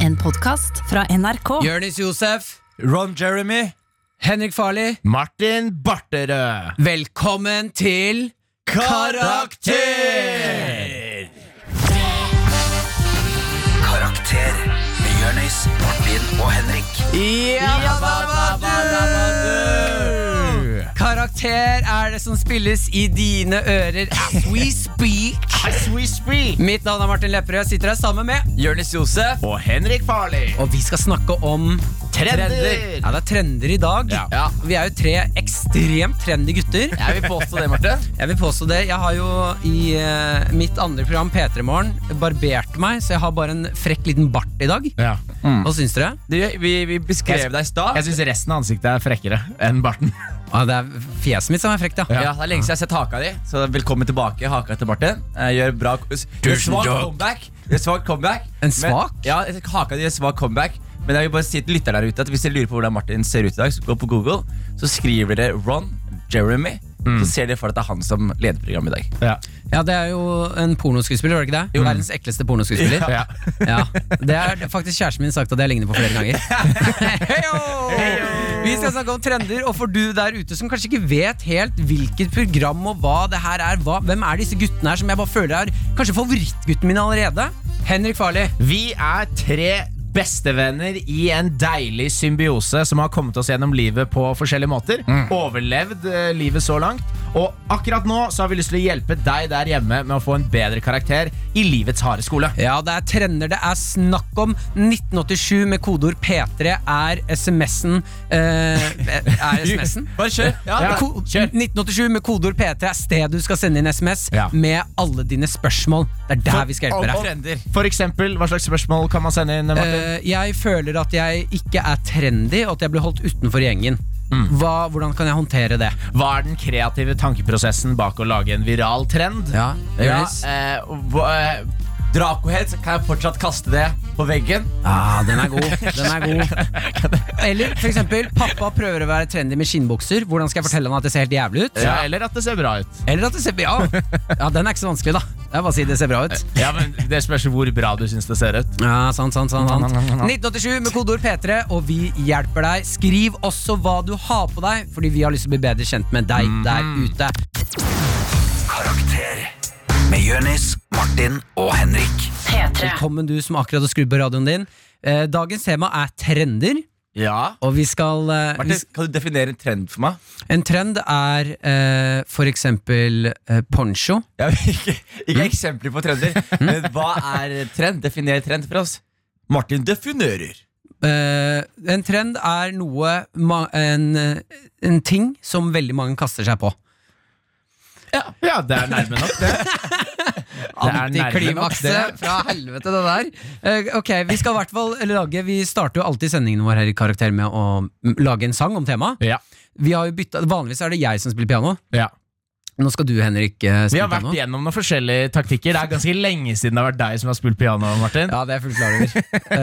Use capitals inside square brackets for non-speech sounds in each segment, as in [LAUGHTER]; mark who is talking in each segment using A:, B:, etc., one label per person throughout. A: En podkast fra NRK.
B: [LAUGHS] Jonis Josef,
C: Ron Jeremy.
B: Henrik Farli,
C: Martin Barterød.
B: velkommen til Karakter!
D: Karakter med Jørnis, Martin og Henrik.
B: Ja, hva var du? Karakter er det som spilles i dine ører as we speak.
C: [LAUGHS]
B: Mitt navn er Martin Lepperød. Jeg sitter her sammen med Jonis Josef.
C: Og Henrik Farli.
B: Og vi skal snakke om
C: Trender.
B: Ja, det er trender i dag.
C: Ja.
B: Vi er jo tre ekstremt trendy gutter.
C: Jeg vil påstå det, Marte.
B: [LAUGHS] Jeg vil påstå det. Jeg har jo i eh, mitt andre program, P3 Morgen, barbert meg, så jeg har bare en frekk liten bart i dag.
C: Ja. Mm.
B: Hva syns dere?
E: Du, vi, vi beskrev
C: Jeg-
E: deg i stad.
C: Jeg syns resten av ansiktet er frekkere enn barten.
B: Ah, det er fjeset mitt som er frekt, ja.
E: Ja, Det er lenge siden jeg har sett haka di. Så velkommen tilbake, haka til Martin. Eh, Gjør bra Gjør svak
C: takk.
E: comeback. Gjør svak comeback.
B: En svak?
E: Men, ja, haka di gjør svak comeback. Men jeg vil bare si til lytterne der ute at hvis dere lurer på hvordan Martin ser ut i dag, så gå på Google, så skriver dere Ron Jeremy.
B: Mm.
E: Så ser dere for dere at det er han som leder programmet i dag.
C: Ja.
B: Ja, det er jo en pornoskuespiller, var det ikke det? Jo, verdens ekleste pornoskuespiller.
C: Ja.
B: Ja. Det har faktisk kjæresten min sagt at jeg ligner på flere ganger. [LAUGHS] Heyo! Vi skal snakke om trender, og for du der ute som kanskje ikke vet helt hvilket program og hva det her er, hva, hvem er disse guttene her som jeg bare føler er kanskje favorittgutten min allerede? Henrik Farli.
C: Vi er tre bestevenner i en deilig symbiose som har kommet oss gjennom livet på forskjellige måter.
E: Mm.
C: Overlevd eh, livet så langt. Og akkurat nå så har vi lyst til å hjelpe deg der hjemme med å få en bedre karakter i livets harde skole.
B: Ja, det er trender det er snakk om. 1987 med kodeord P3 er SMS-en eh, Er SMS-en?
E: Bare kjør. Ja.
B: Ja, ko- 1987 med kodeord P3 er stedet du skal sende inn SMS
C: Ja.
B: med alle dine spørsmål. Det er der vi skal hjelpe
E: Og
B: deg.
E: trender.
C: For eksempel, hva slags spørsmål kan man sende inn? Martin?
B: Eh, jeg føler at jeg ikke er trendy, og at jeg blir holdt utenfor gjengen. Hva, hvordan kan jeg håndtere det?
C: Hva er den kreative tankeprosessen bak å lage en viral trend?
B: Ja,
E: Ja,
B: Jonis?
E: eh, hva- eh, Dracoheads, kan jeg fortsatt kaste det på veggen?
B: Ah, den er god. Den er god. Eller for eksempel, pappa prøver å være trendy med skinnbukser. Hvordan skal jeg fortelle han at det ser helt jævlig ut?
C: Ja, eller at det ser bra ut.
B: Eller at det ser ja. ja, den er ikke så vanskelig, da. Det er bare å si det ser bra ut.
C: Ja, men Det spørs jo hvor bra du syns det ser ut.
B: Ja, sant, sant, sant, sant.
C: Na, na, na, na.
B: 1987 med kodeord P3, og vi hjelper deg. Skriv også hva du har på deg, fordi vi har lyst til å bli bedre kjent med deg
E: Mm.
B: der ute.
D: Karakter med Jørnis, Martin og Henrik.
B: Velkommen, du som akkurat har skrudd på radioen din. Eh, Dagens tema er trender,
E: Ja.
B: og vi skal eh, vi,
E: Martin, kan du definere en trend for meg?
B: En trend er eh, for eksempel eh, poncho.
E: Ja, [LAUGHS] men ikke ikke
B: Mm.
E: eksempler på trender, men hva er trend? Definer trend for oss. Martin definerer.
B: Eh, en trend er noe ma- en, eh, en ting som veldig mange kaster seg på.
C: Ja, det er nærme nok, [LAUGHS] det. Det er nærme nok, det.
B: Antiklimakset [LAUGHS] fra helvete, det der. Eh, ok, Vi skal i hvert fall lage Vi starter jo alltid sendingen vår her i Karakter med å mm, lage en sang om temaet.
C: Ja,
B: Vi har jo byttet, Vanligvis er det jeg som spiller piano.
C: ja.
B: Nå skal du, Henrik, eh,
C: Vi
B: spille
C: har vært
B: piano.
C: gjennom noen forskjellige taktikker. Det er ganske lenge siden det har vært deg som har spilt piano. Martin
B: Ja, det er jeg fullt klar over.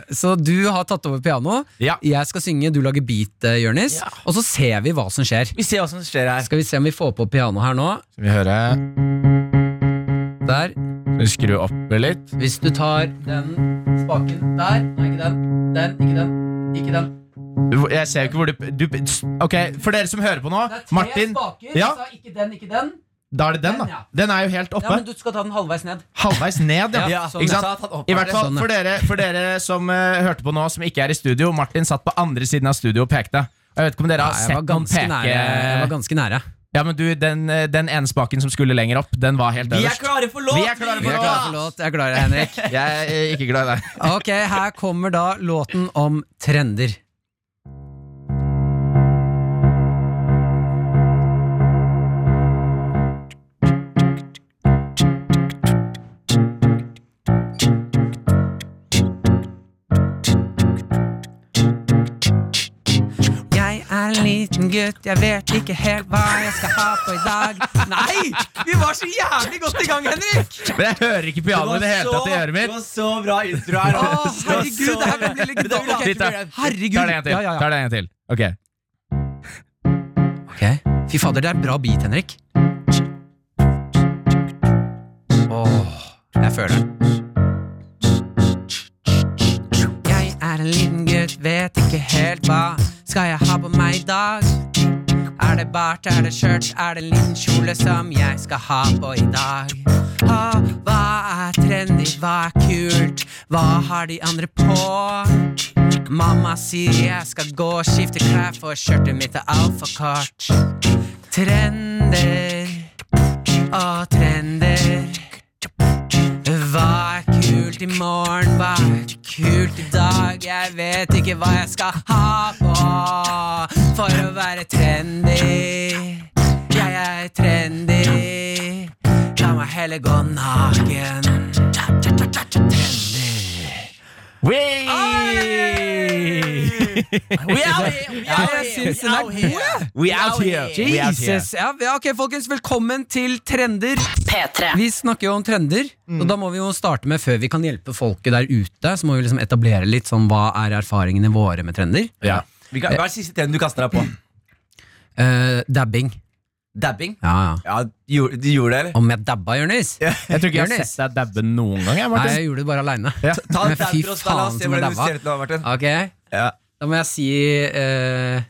B: Eh, så du har tatt over piano.
C: Ja.
B: Jeg skal synge, du lager beat, uh, Jonis.
E: Ja.
B: Og så ser vi hva som skjer.
E: Vi ser hva som skjer her.
B: Skal vi se om vi får på piano her nå.
C: Skal vi høre?
B: Der.
C: Skal vi Skru opp litt.
B: Hvis du tar den spaken der Nei, ikke den. Den, ikke den. Ikke den.
C: Du- Jeg ser jo ikke hvor du, du Ok, For dere som hører på nå,
B: Det er tre
C: Martin.
B: spaker.
C: Ja,
B: Så ikke den, ikke den.
C: Da er det den,
B: Den,
C: da.
B: ja.
C: Den er jo helt
B: Ja, men
C: oppe.
B: du skal ta den halvveis ned.
C: Halvveis ned, ja.
E: Ja,
B: sånn.
C: Ikke
E: Jeg sa
C: sant?
E: at han oppdager
C: I hvert fall
B: sånn, ja.
C: for dere, for dere som eh, hørte på nå, som ikke er i studio. Martin satt på andre siden av studio og pekte. Jeg vet ikke om dere har
B: Nei, jeg, var
C: sett noen
B: ganske
C: peke
B: nære, jeg var ganske nære.
C: Ja, men du, den, eh, den ene spaken som skulle lenger opp, den var helt
E: Vi er
C: øverst.
E: klare for låt!
C: Vi er klare for
B: Jeg er klar for låt. Jeg er klar, Henrik.
C: Jeg er ikke glad i deg.
B: Ok, Her kommer da låten om trender. Jeg er en liten gutt, jeg vet ikke helt hva jeg skal ha på i dag. Nei! Vi var så jævlig godt i gang, Henrik!
C: Men jeg hører ikke pianoet i det hele tatt i øret
E: Det
C: mitt.
E: var så bra intro her.
B: Å, herregud, det her kan bli legendarisk. Ok,
C: Titt, da.
B: Herregud.
C: Ta det en til.
B: Ja, ja, ja.
C: Ta det en til. Ok.
B: Ok Fy fader, det er en bra beat, Henrik Åh, jeg føler den Er en liten gutt, vet ikke helt hva skal jeg ha på meg i dag. Er det bart, er det skjørt, er det en liten kjole som jeg skal ha på i dag? Og hva er trendy, hva er kult, hva har de andre på? Mamma sier jeg skal gå og skifte klær, for skjørtet mitt er altfor kort. Trender og trender. Hva er kult i morgen? Hva er kult i dag? Jeg vet ikke hva jeg skal ha på for å være trendy. Jeg er trendy. La meg heller gå naken. We out here! Ja, jeg syns den er god.
C: We out here! We out here.
B: Jesus. Ja, ja, ok, folkens, velkommen til Trender.
A: P3.
B: Vi snakker jo om trender,
C: Mm.
B: og da må vi jo starte med før vi kan hjelpe folket der ute, så må vi liksom etablere litt sånn hva er erfaringene våre med trender.
C: Ja.
E: Vi kan- Hva er siste trenden du kaster deg på?
B: Eh, dabbing.
E: Dabbing?
B: Ja, ja.
E: Ja, du gjorde du gjorde det, eller?
B: Om jeg dabba, Jonis?
C: Jeg tror ikke jeg har
B: Jonis?
C: sett deg dabbe noen gang. Jeg,
B: Nei,
C: Martin.
B: jeg gjorde det bare aleine.
C: Ja.
E: Ta en
B: Men
E: dab
B: fy
E: for oss, da. La
B: faen,
E: oss se
B: som jeg
E: hvordan du
B: dabba.
E: ser ut nå, Martin.
B: Ok,
E: Ja.
B: da må jeg si eh,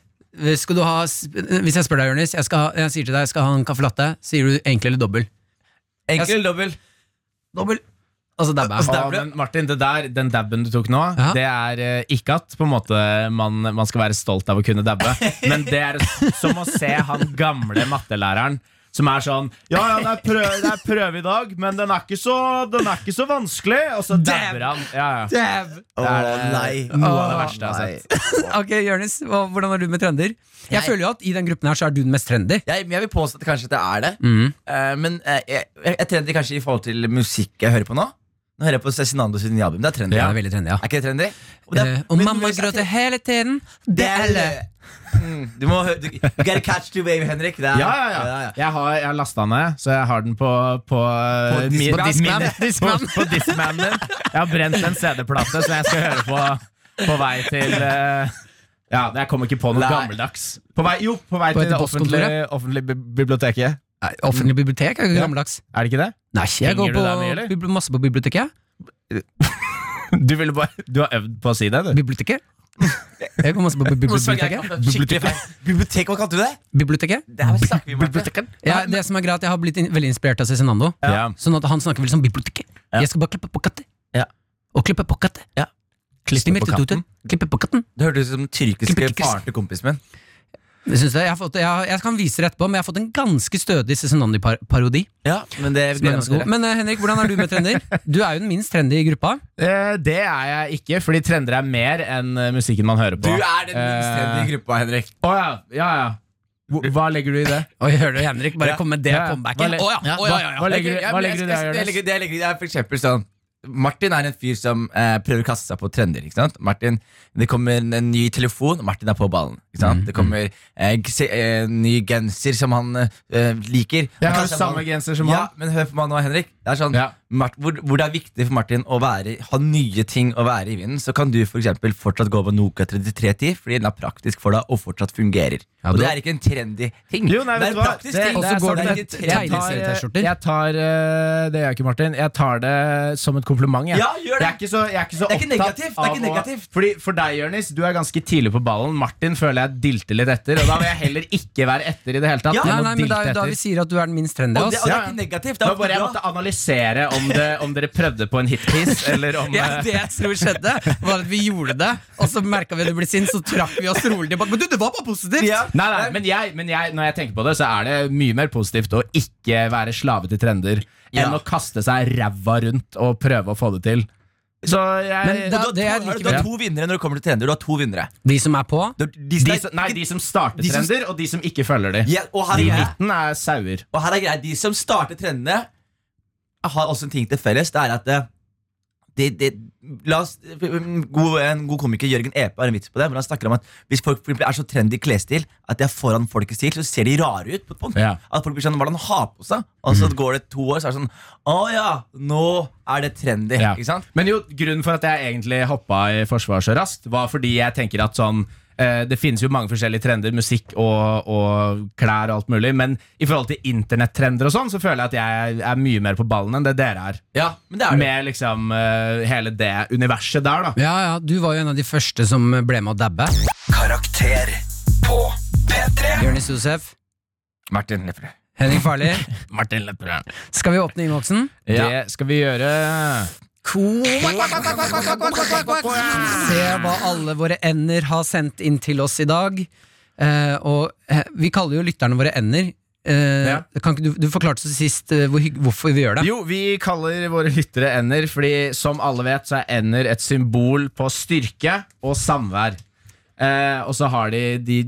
B: Skal du ha sp- Hvis jeg spør deg, Jonis, jeg, skal ha- jeg sier til deg skal ha en caffè latte, sier du enkel eller dobbel?
E: Enkel eller dobbel?
B: Dobbel. Altså dabba.
E: Altså,
B: jeg.
E: da-
C: Å, Ah, men Martin, det der, den dabben du tok nå,
B: Ja.
C: det er eh, ikke at på en måte man, man skal være stolt av å kunne [LAUGHS] dabbe, men det er som å se han gamle mattelæreren som er sånn Ja, ja, det er prøve, det er prøve i dag, men den er ikke så, den er ikke så vanskelig. Og så dabber han. Ja, ja.
B: Dab.
C: Det er eh, noe av det verste jeg har sett.
B: Ok, Jonis, hva- hvordan er du med trender? Jeg føler jo at i den gruppen her så er du den mest trendy.
E: Jeg, jeg vil påstå at kanskje det er det. Eh, men eh, jeg, jeg, jeg trender kanskje i forhold til musikk jeg hører på nå. Nå hører jeg på Cezinando sin nye album. Det er trendy.
B: Ja,
E: Ja.
B: det er
E: Er
B: veldig trendy, ja.
E: ikke det trendy? Og, det er-
B: Eh, og
E: men
B: mamma
E: Louis er
B: gråter
E: tre-
B: hele tiden.
E: Det
B: Det
E: er
B: er løgn.
E: Mm, Du må høre du, You gotta catch the wave, Henrik. Det er,
C: Ja, ja, ja. Jeg har, jeg har lasta den ned, så jeg har den på På, eh,
E: På Discman.
C: min-
E: Discman.
C: min- [LAUGHS] På, på Discman min. Jeg har brent en CD-plate som jeg skal høre på på vei til eh, Ja, jeg kom ikke på noe
E: Nei.
C: gammeldags. På vei, jo, på vei
B: På et
C: til det
B: postkontoret?
C: offentlige, offentlige bi- biblioteket.
B: Nei, Offentlig bibliotek er jo ikke
C: Ja.
B: gammeldags.
C: Er det ikke det?
B: Nei, jeg går
C: Henger
B: på,
C: du der mye, eller?
B: bibli- masse på biblioteket.
C: Du, ville bare, du har øvd på å si det, du.
B: Biblioteket? Jeg går masse på bi- bi-
E: Nå snakker jeg
B: biblioteket.
E: kaffe. Skikkelig feil. Bibliotek, hva kalte du det?
B: biblioteket.
E: Det her snakker vi om. Martin.
B: Ja, det som er greit, Jeg har blitt in veldig inspirert av Cezinando.
C: Ja.
B: Sånn at han snakker vel som biblioteket.
E: Ja.
B: Jeg skal bare klippe på katter.
E: Ja.
B: Og klippe på katter.
E: Ja.
B: Klippe
C: på
B: på katten. Klippe på katten.
E: Det hørtes ut som den tyrkiske
B: Klippeklikkes.
E: faren til kompisen min.
B: Jeg, synes det, jeg, har fått, jeg, har- jeg kan vise det etterpå, men jeg har fått en ganske stødig Cezinando-parodi.
E: Ja, men det
B: som er ganske god. Men eh, Henrik, hvordan er du med trender? Du er jo den minst trendy i gruppa.
C: Eh, det er jeg ikke, fordi trender er mer enn eh, musikken man hører på. Eh,
E: Du er den minst trendy i gruppa, Henrik.
C: Å ja, ja, ja. Hvor- Hva legger du i det?
B: Oi, hører du Henrik bare komme med det
C: Ja, ja.
B: comebacket?
C: Hva le-
B: Å ja,
C: Ja.
B: å ja, ja, ja.
C: Hva legger du-
E: Jeg- jeg-
C: hva legger du i
E: jeg-
C: det,
E: jeg- jeg
C: Jonas?
E: legger- Det jeg legger i det er for eksempel sånn Martin er en fyr som eh, prøver å kaste seg på trender. ikke sant? Martin, Det kommer en, en ny telefon, Martin er på ballen. ikke
B: Mm,
E: sant? Det kommer eh, g- se, eh, ny genser som han eh, liker.
C: Jeg
E: Han
C: har
E: kaster seg på
C: samme
E: ballen.
C: genser som
E: Ja,
C: han.
E: men hør på meg nå, Henrik. Det er sånn,
C: Ja.
E: Mart, hvor, hvor det er viktig for Martin å være, ha nye ting å være i vinden, så kan du for eksempel fortsatt gå på Noka 3310 fordi den er praktisk for deg og fortsatt fungerer.
B: Ja,
E: og
B: du-
E: det er ikke en trendy ting.
C: Jo, nei, vet
E: det er
C: du
E: en
C: hva?
E: praktisk
C: Det-
E: ting.
C: det er
B: Og så går
E: det
B: du
E: er
B: med
E: ikke trendy.
B: tegneserie. T-skjorter?
C: Jeg tar eh, Det gjør jeg ikke, Martin. Jeg tar det som et kompliment. Jeg.
E: Ja, gjør det.
C: Jeg er ikke så, jeg er ikke så
E: Det er ikke
C: opptatt
E: negativt, det er ikke
C: av å-
E: negativt.
C: Fordi For deg, Jørnis, du er ganske tidlig på ballen. Martin føler jeg dilter litt etter. Og da vil jeg heller ikke være etter i det hele tatt.
E: Ja,
C: Jeg
B: Nei,
C: må
B: nei, men da,
C: dilte
B: da
C: etter.
B: vi sier at du er den minst trendy
E: Og
B: av
E: det,
B: oss
E: og det
C: Ja,
E: er
C: ja.
E: ikke negativt.
C: Det
E: Det
C: var
E: er
C: bare jeg
E: bra.
C: måtte analysere om, det, om dere prøvde på en hitpiece, eller
E: [LAUGHS]
C: om
B: ja,
C: eh,
B: det jeg tror skjedde, var at vi gjorde det, og så merka vi at du ble sint, så trakk vi oss rolig tilbake. Men du, det var bare positivt!
E: Ja.
C: Nei, nei, men, jeg, men jeg, når jeg tenker på det, så er det mye mer positivt å ikke være slave til trender enn
E: Ja.
C: å kaste seg ræva rundt og prøve å få det til. Så jeg
B: Men Eh, da-
E: Du har
B: Det er
E: to-
B: like
E: du
B: bra.
E: har to vinnere når det kommer til trender. Du har to vinnere.
B: De som er på,
E: Du- de-
C: de som, Nei, de som starter
E: De som-
C: trender, og de som ikke følger de.
E: Ja, og, her
C: De
E: er
C: i
E: greia.
C: midten er sauer.
E: og her er greia. De som starter trendene, har også en ting til felles. Det er at eh, de, de, la oss, en god, en god komiker, Jørgen Epe, har en vits på det. Hvor han snakker om at Hvis folk for eksempel er så trendy i klesstil at de er foran folk i stil, så ser de rare ut. på et punkt
C: Ja.
E: At folk blir sånn, Hva er det han har på seg? Og så går det to år, så er det sånn Å ja, nå er det trendy.
C: Ja.
E: Ikke sant?
C: Men jo, grunnen for at jeg egentlig hoppa i forsvar så raskt, var fordi jeg tenker at sånn eh, eh, det finnes jo mange forskjellige trender, musikk og, og klær og alt mulig, men i forhold til internettrender og sånn, så føler jeg at jeg er mye mer på ballen enn det dere er.
E: Ja, men det er det.
C: Med liksom eh, hele det universet der, da.
B: Ja, ja, Du var jo en av de første som ble med å dabbe.
D: Karakter på P3
B: Jonis Josef.
C: Martin Lepperød.
B: Henning Farli.
C: [LAUGHS] Martin Lepperød.
B: Skal vi åpne innboksen?
C: Det skal vi gjøre.
B: Se hva alle våre ender har sendt inn til oss i dag. Eh, og eh, vi kaller jo lytterne våre ender. Eh,
C: Ja.
B: kan ikke du, du forklarte så sist eh, hvor, hygg- hvorfor vi gjør det.
C: Jo, vi kaller våre lyttere ender, fordi som alle vet, så er ender et symbol på styrke og samvær. Eh, og så har de de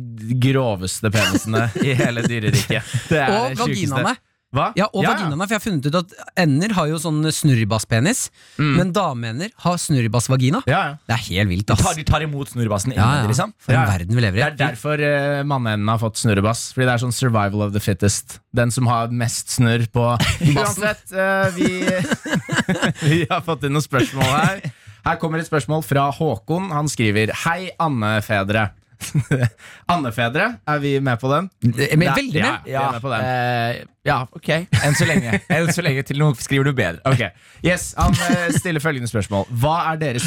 C: groveste penisene i hele dyreriket. Det er
B: Og
C: det sjukeste.
B: vaginaene.
C: Hva?
B: Ja, og vaginaene, for jeg har funnet ut at ender har jo sånn snurrebasspenis, men dameender har snurrebassvagina.
C: Mm. Ja, ja.
B: Det er helt vilt, ass.
E: Tar, de tar imot snurrebassen
B: Ja,
E: innvendig,
B: ja.
E: liksom?
B: For en
C: Ja, ja.
B: verden vi lever i.
C: Det er derfor uh, manneenden har fått snurrebass. Fordi det er sånn survival of the fittest. Den som har mest snurr
E: [LAUGHS]
C: på Uansett, eh, vi, [LAUGHS] vi har fått inn noen spørsmål her. Her kommer et spørsmål fra Håkon. Han skriver Hei, andefedre. [LAUGHS] andefedre, er vi med på den?
B: Det- men
C: Ja,
B: veldig
C: ja,
B: med.
C: vi er med på den.
E: eh, ja, ok. Enn så [LAUGHS] lenge. Enn så lenge til nå skriver du bedre.
C: Ok, yes, Han eh, stiller følgende spørsmål. Hva er deres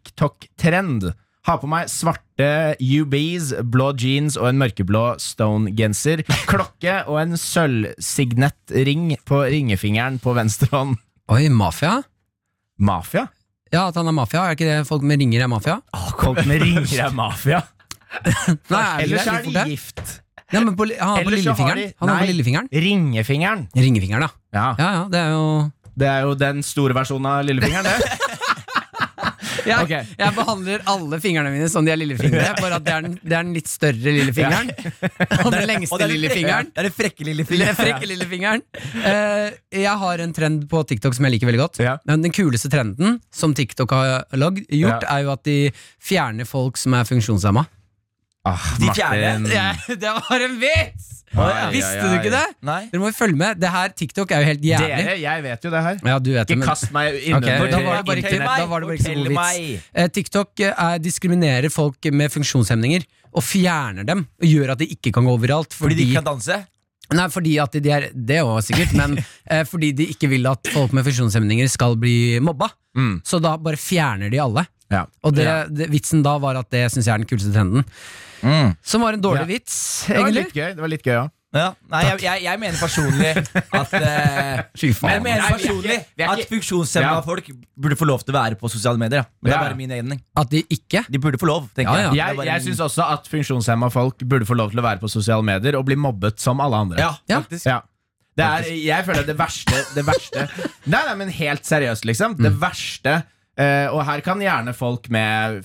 C: favoritt-TikTok-trend? Ha på meg svarte UBs, blå jeans og en mørkeblå Stone-genser. Klokke og en sølvsignett-ring på ringefingeren på venstre hånd.
B: Oi, mafia?
C: Mafia?
B: Ja, at han er mafia. Er ikke det folk med ringer er mafia?
C: Folk med [LAUGHS] ringer er mafia.
B: Nei, er det
C: Ellers
B: ikke det?
C: er de
B: Litt fort,
C: gift.
B: det? Nei, men på, li- han har på
C: Ellers så har
B: lillefingeren.
C: de-
B: Han har på
C: Nei.
B: lillefingeren.
C: Ringefingeren.
B: Ringefingeren, ja.
C: Ja,
B: Ja, ja, det er jo
C: Det er jo den store versjonen av lillefingeren, det.
B: jeg,
C: Ok.
B: jeg behandler alle fingrene mine som de er
C: [LAUGHS]
B: lillefingre, bare at det er den, det er den litt større lillefingeren. [LAUGHS] Og den
E: Og
B: lengste
E: det er litt-
B: lillefingeren.
E: Det er det frekke
B: Den
E: lillefingeren.
B: frekke lillefingeren. Eh, jeg har en trend på TikTok som jeg liker veldig godt.
C: Ja.
B: Men Den kuleste trenden som TikTok har lagd, gjort,
C: Ja.
B: er jo at de fjerner folk som er funksjonshemma.
C: Ah,
E: De fjerde.
C: Martin.
B: Det, det var en vits!
C: Oi, oi, oi,
B: Visste du ikke det?
E: Nei.
B: Dere må jo følge med. Det her TikTok er jo helt jævlig.
C: Dere, jeg vet jo det her.
B: Ja, du vet det,
C: Ikke
B: men-
C: kast meg
B: Ok,
C: innenfor
B: da var det bare ikke,
C: internett.
B: da var det bare ikke så god
E: Fortell meg,
B: vits. Eh, TikTok eh, er, diskriminerer folk med funksjonshemninger og fjerner dem. Og gjør at de ikke kan gå overalt.
E: Fordi de
B: Fordi,
E: ikke kan danse?
B: nei, fordi at de er Det òg, sikkert. Men eh, fordi de ikke vil at folk med funksjonshemninger skal bli mobba.
C: Mm.
B: Så da bare fjerner de alle.
C: Ja.
B: Og det, det, vitsen da var at det syns jeg er den kuleste trenden. Som var en dårlig
C: Mm. Ja.
B: vits,
C: Det var
B: egentlig.
C: litt gøy, det var litt gøy, ja.
E: Ja. Nei, jeg, jeg, jeg mener personlig at [LAUGHS] eh,
B: Fy faen.
E: Jeg mener
C: Nei, vi er
E: personlig
C: ikke- vi er
E: at
C: ikke-
E: funtionshemma
C: Ja.
E: folk burde få lov til å være på sosiale medier. Ja. Men det
C: Ja.
E: er bare min egen mening.
B: At de ikke
E: De burde få lov, tenker
B: Ja, ja.
E: jeg. Det er
C: Jeg,
E: bare
C: jeg
E: min-
C: syns også at funksjonshemma folk burde få lov til å være på sosiale medier og bli mobbet som alle andre.
E: ja,
B: Ja.
E: faktisk.
C: Ja. Det er, jeg føler det verste, det verste Nei, nei, men helt seriøst, liksom. Det
B: Mm.
C: verste eh, Og her kan gjerne folk med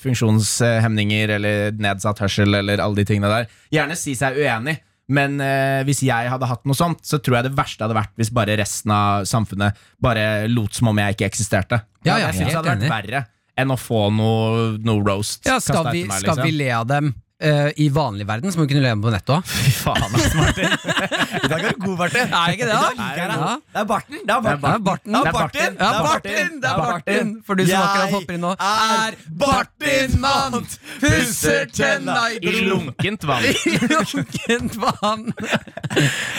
C: funksjonshemninger eller nedsatt hørsel eller alle de tingene der, gjerne si seg uenig. Men eh, hvis jeg hadde hatt noe sånt, så tror jeg det verste hadde vært hvis bare resten av samfunnet bare lot som om jeg ikke eksisterte.
B: Ja, ja,
C: jeg synes det
B: helt
C: hadde vært verre enn å få noe, noe roast
B: ja, skal,
C: kastet
B: vi,
C: etter meg,
B: skal vi
C: liksom.
B: le av dem eh, i vanlig verden, så må vi kunne le av dem på nettet òg.
C: Fy faen, altså. ass.
E: I dag er du god, Barte.
B: [LAUGHS] Er ikke det,
E: I
B: da?
E: dag liker jeg deg.
B: Ja.
E: Det er barten. Det er
B: Det er barten.
E: barten. Det
B: Det
E: er
B: er
E: barten.
B: Ja, Bartin! Det er Bartin! For du som akkurat hopper inn nå.
E: Jeg
B: Er Bartin mann! Pusser tenna i
C: I
B: glo! [LAUGHS]
C: lunkent vann.
B: Lunkent [LAUGHS] vann!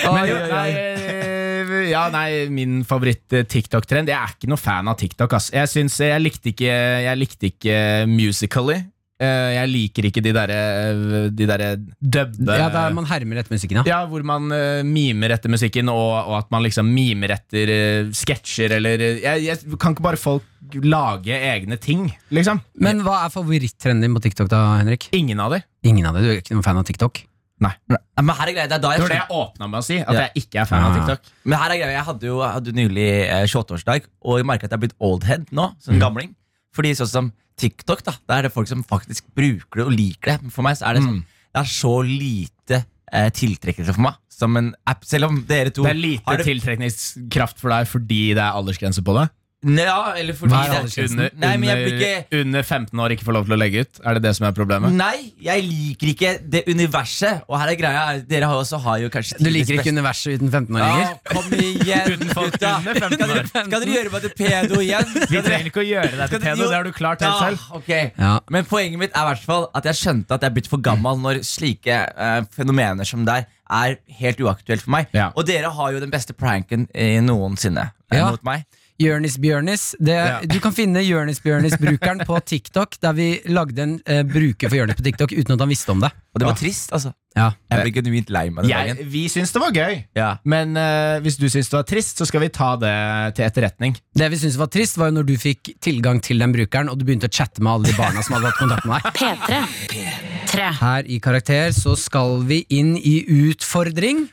B: Oi, oi,
C: Nei,
B: oi.
C: eh, ja, nei, min favoritt-TikTok-trend Jeg er ikke noe fan av TikTok. Ass. Jeg, syns- eh, jeg, likte ikke, jeg likte ikke Musically. Eh, Jeg liker ikke de derre eh, de der dubbe
B: Ja, der man hermer etter musikken, ja.
C: ja, hvor man eh, mimer etter musikken, og, og at man liksom mimer etter eh, sketsjer eller eh, jeg, jeg, Kan ikke bare folk lage egne ting, liksom?
B: Men hva er favorittrenden din på TikTok, da, Henrik?
C: Ingen av de.
B: Ingen av det, Du er ikke noen fan av TikTok?
C: Nei. Det
E: Ja, Men her er greia, det er da jeg
C: var det
E: skjønte-
C: jeg åpna med å si, at
E: Ja.
C: jeg ikke er fan av
B: Ah.
C: TikTok.
E: Men her er greia, jeg hadde jo, jeg hadde jo nylig eh, 28-årsdag, og jeg merker at jeg er blitt oldhead nå, som gamling. Fordi sånn som TikTok, da, der er det folk som faktisk bruker det og liker det. Men For meg så er det sånn, det er så lite eh, tiltrekkelse for meg som en app. Selv om dere to
C: Det er lite
E: har det,
C: tiltrekningskraft for deg fordi det er aldersgrense på det?
E: Nei, Ja, eller fordi
B: Hva er
E: det-
B: aldersgrensen?
C: Under,
E: Nei, men jeg blir ikke
C: under, under 15 år ikke får lov til å legge ut? Er det det som er problemet?
E: Nei, jeg liker ikke det universet. Og her er greia er- Dere har jo også har jo kanskje
B: Du liker
E: tidens
B: ikke universet uten
E: Ja,
B: 15-åringer?
E: kom igjen, gutta! Skal dere, skal dere gjøre meg til pedo igjen?
C: Vi trenger ikke å gjøre deg til pedo, det har du klart helt
E: Ja,
C: selv.
E: ok.
B: Ja.
E: Men poenget mitt er i hvert fall at jeg skjønte at jeg er blitt for gammel når slike eh, fenomener som der er helt uaktuelt for meg.
C: Ja.
E: Og dere har jo den beste pranken eh, noensinne eh,
B: Ja.
E: mot meg.
B: Jørnis Bjørnis. Det,
C: Ja.
B: Du kan finne Jørnis Bjørnis-brukeren på TikTok, der vi lagde en eh, bruker for Jørnis på TikTok uten at han visste om det.
E: Og det var trist, altså.
B: Ja.
E: Jeg ble genuint lei meg den
C: Eh, Jeg,
E: dagen.
C: vi syns det var gøy,
E: Ja.
C: men eh, hvis du syns det var trist, så skal vi ta det til etterretning.
B: Det vi syntes var trist, var jo når du fikk tilgang til den brukeren, og du begynte å chatte med alle de barna som hadde hatt kontakt med deg.
A: P3. P3.
B: Her i Karakter så skal vi inn i utfordring.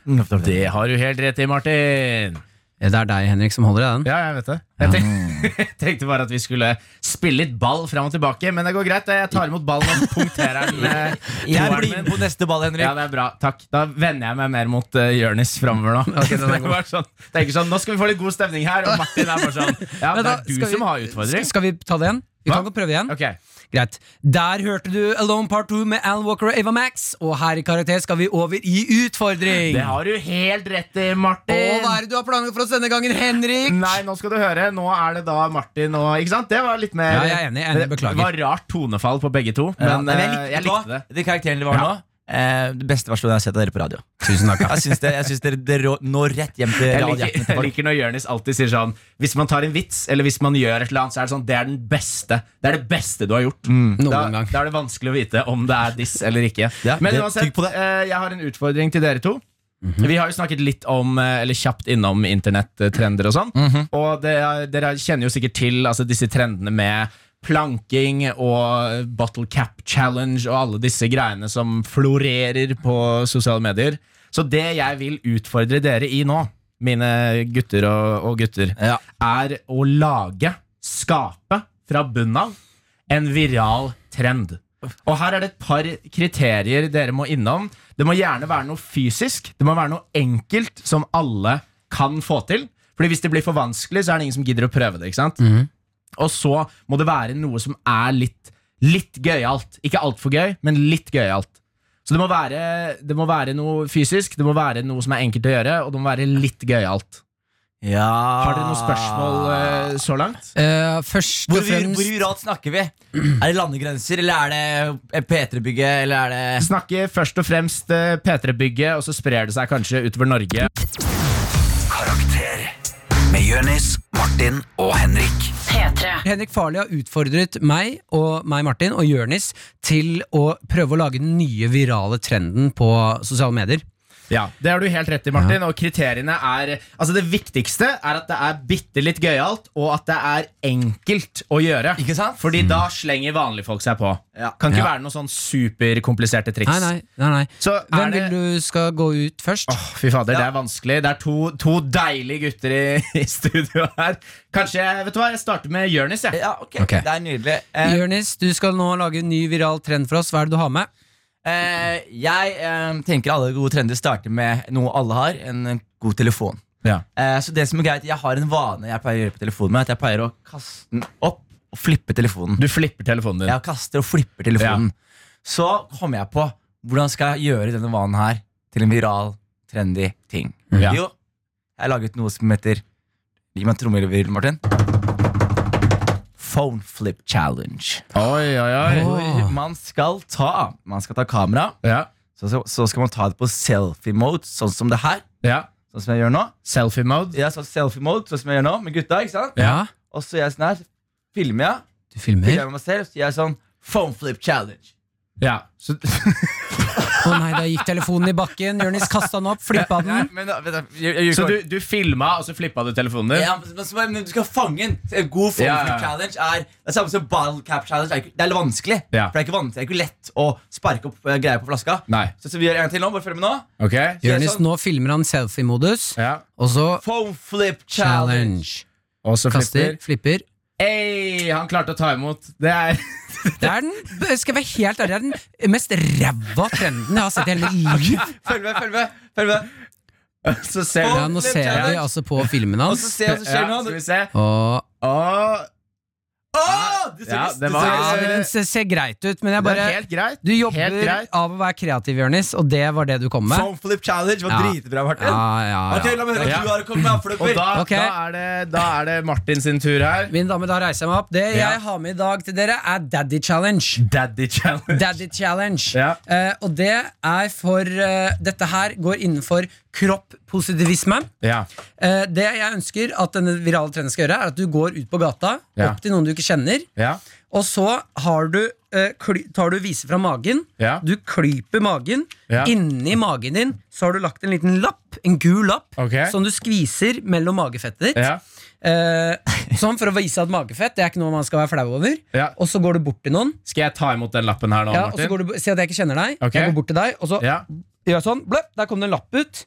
C: Det har du helt rett i, Martin.
B: Det er deg, Henrik, som holder i den.
C: Ja, jeg vet det. Jeg tenkte, [LAUGHS] tenkte bare at vi skulle spille litt ball fram og tilbake, men det går greit. Jeg tar imot ballen og punkterer den. eh,
E: Jeg
C: toeren
E: blir
C: min.
E: med på neste ball, Henrik.
C: Ja, det er bra. Takk. Da vender jeg meg mer mot uh, Jørnis framover nå.
B: [LAUGHS] Ok, den er
C: [LAUGHS] Det
B: god.
C: var sånn, tenker sånn, Nå skal vi få litt god stemning her, og Martin er bare sånn Ja,
B: Men
C: det
B: da
C: er du
B: skal vi-
C: som har utfordring.
B: Sk- Skal vi ta det igjen? Vi
C: Hva?
B: kan godt prøve igjen.
C: Ok,
B: Greit. Der hørte du Alone Part 2 med Alan Walker og Ava Max, og her i Karakter skal vi over i utfordring.
C: Det har du helt rett i, Martin.
B: Og hva er det du har planlagt for oss denne gangen, Henrik?
C: Nei, nå skal du høre. Nå er det da Martin og Ikke sant? Det var litt mer
B: Ja, jeg er enig, jeg er enig. Beklager.
C: Det var rart tonefall på begge to,
E: Ja,
C: men,
E: men
C: eh, jeg, likte det.
E: Det karakteren dere var nå, eh, det beste versjonen jeg har sett av dere på radio.
B: Tusen takk.
E: Jeg syns dere, jeg syns dere, dere rå- når rett hjem
C: [LAUGHS]
E: til
C: Jeg liker,
E: radiohjertene til
C: jeg
E: folk.
C: liker når Jonis alltid sier sånn Hvis man tar en vits, eller hvis man gjør et eller annet, så er det sånn Det er den beste. Det er det beste du har gjort. da,
B: Mm. Noen gang.
C: da er det vanskelig å vite om det er diss eller ikke.
E: Ja,
C: Men
E: det-
C: uansett,
E: tygg på det. Mhm.
C: eh, jeg har en utfordring til dere to. Vi har jo snakket litt om, eh, eller kjapt innom internettrender og sånn.
E: Mhm.
C: Og det er, dere kjenner jo sikkert til altså, disse trendene med planking og bottle cap challenge og alle disse greiene som florerer på sosiale medier. Så det jeg vil utfordre dere i nå, mine gutter og, og gutter,
E: Ja.
C: er å lage, skape fra bunnen av, en viral trend. Og her er det et par kriterier dere må innom. Det må gjerne være noe fysisk. Det må være noe enkelt som alle kan få til. Fordi hvis det blir for vanskelig, så er det ingen som gidder å prøve det. ikke sant? Og så må det være noe som er litt, litt gøyalt. Ikke altfor gøy, men litt gøyalt. Så det må, være, det må være noe fysisk, det må være noe som er enkelt å gjøre, og det må være litt gøyalt.
E: Ja.
C: Har dere noen
E: Ah.
C: spørsmål eh, så langt?
B: Eh, først
E: Hvor,
B: og
E: vi-
B: fremst
E: hvor viralt snakker vi? Er det landegrenser, eller er det P3-bygget, eller er det
C: Snakke først og fremst eh, P3-bygget, og så sprer det seg kanskje utover Norge.
D: Karakter med Jørnis, Martin og Henrik.
A: P3.
B: Henrik Farley har utfordret meg og meg, Martin, og Jørnis til å prøve å lage den nye virale trenden på sosiale medier.
C: Ja, Det har du helt rett i, Martin. Og kriteriene er Altså Det viktigste er at det er bitte litt gøyalt, og at det er enkelt å gjøre.
E: Ikke sant? Mm.
C: Fordi da slenger vanlige folk seg på.
E: Ja.
C: Kan ikke
B: Ja.
C: være noen sånn superkompliserte triks.
B: Nei, nei, nei, nei.
C: Så
B: Hvem
C: er det
B: vil du skal gå ut først?
C: Åh, Fy fader, det
E: Ja.
C: er vanskelig. Det er to, to deilige gutter i, [LAUGHS] i studio her. Kanskje, vet du hva, Jeg starter med Jonis. jeg.
E: Ja, ok,
B: Ok.
E: det er nydelig. Eh,
B: Jørnis, du skal nå lage en ny viral trend for oss. Hva er det du har med?
E: eh, jeg eh, tenker alle gode trender starter med noe alle har, en god telefon.
C: Ja.
E: Eh, så det som er greit, Jeg har en vane jeg pleier å gjøre på telefonen min, at jeg pleier å kaste den opp og flippe telefonen.
C: Du flipper telefonen din.
E: Jeg kaster og flipper telefonen. Så kommer jeg på hvordan skal jeg gjøre denne vanen her til en viral, trendy ting.
C: Mm. Ja.
E: Jo, jeg har laget noe som heter Gi meg en trommevirvel, Martin. Phone flip challenge.
C: Oi, oi, oi.
B: Åh.
E: Man skal ta Man skal ta kamera,
C: Ja,
E: så, så, så skal man ta det på selfie-mode, sånn som det her.
C: ja.
E: Sånn som jeg gjør nå.
C: Selfie-mode.
E: Jeg sa selfie-mode, sånn som jeg gjør nå, med gutta. ikke sant?
B: Ja,
E: Og så gjør jeg sånn her. Filmer jeg.
B: du filmer?
E: Filmer jeg meg selv, så gjør jeg sånn phone flip challenge.
C: Ja. Så, [LAUGHS]
B: Å nei, da gikk telefonen i bakken. Jørnis kasta den opp, flippa den.
E: Men, da- vent da, jeg, jeg, gjør
C: så
E: kort.
C: du, du filma, og så flippa du telefonen din?
E: Ja, men som er- men du skal fange den. Så En god form
C: Ja,
E: for
C: ja, ja.
E: challenge er Det er samme som bottle cap challenge. er ikke- Det er litt vanskelig.
C: Ja.
E: For det er ikke vanskelig, det er ikke lett å sparke opp eh, greier på flaska.
C: Nei.
E: Så, så vi gjør en til nå. Bare følg med nå.
C: Ok?
B: Jørnis, nå filmer han selfie-modus,
C: Ja.
B: og så
E: Phone flip challenge.
B: challenge.
C: Og så
B: Kaster,
C: flipper.
B: flipper.
C: Ei, han klarte å ta imot. Det er [LAUGHS]
B: Det er den, skal jeg være helt ærlig, det er den mest ræva trenden jeg har sett i hele mitt liv.
E: Følg med, følg med. følg med
C: Så ser
E: Å,
B: Ja, nå ser vi altså på filmen
E: Og så
B: hans.
E: ser jeg hva som skjer
C: Ja,
E: nå.
C: skal vi se.
B: Og
C: Åh,
E: Åh, det ser
C: Ja,
E: lyst-
C: det
E: det
C: var-
E: ser
B: Ja,
E: lyst-
B: men den ser, ser greit ut, men jeg
C: det
B: bare
C: er helt greit.
B: Du jobber
C: helt greit.
B: av å være kreativ, Jonis, og det var det du kom med.
E: Phone flip challenge var
B: Ja.
E: dritbra, Martin.
B: Ja, ja,
E: Ok,
B: ja.
E: la meg høre
C: Ja.
E: at du har kommet med flipper.
C: Og da,
B: Ok.
C: da, er det, da er det Martin sin tur her.
B: Mine damer, da reiser jeg meg opp. Det
C: Ja.
B: jeg har med i dag til dere, er Daddy Challenge.
C: Daddy challenge.
B: Daddy Challenge.
C: Ja.
B: Eh, og det er for eh, Dette her går innenfor kropppositivisme.
C: Ja.
B: Eh, det jeg ønsker at denne virale trenden skal gjøre, er at du går ut på gata,
C: Ja.
B: opp til noen du ikke kjenner,
C: Ja.
B: og så har du, eh, kly, tar du viser fra magen.
C: Ja.
B: Du klyper magen.
C: Ja.
B: Inni magen din så har du lagt en liten lapp, en gul lapp,
C: Ok.
B: som du skviser mellom magefettet ditt.
C: Ja.
B: Eh, sånn for å vise at magefett Det er ikke noe man skal være flau over.
C: Ja.
B: Og så går du bort til noen.
C: Skal jeg ta imot den lappen her nå,
B: Ja, og så
C: Martin?
B: går du, Si at jeg ikke kjenner deg.
C: Ok.
B: Jeg går bort til deg, og så
C: Ja.
B: gjør jeg sånn. Bløpp, der kom det en lapp ut.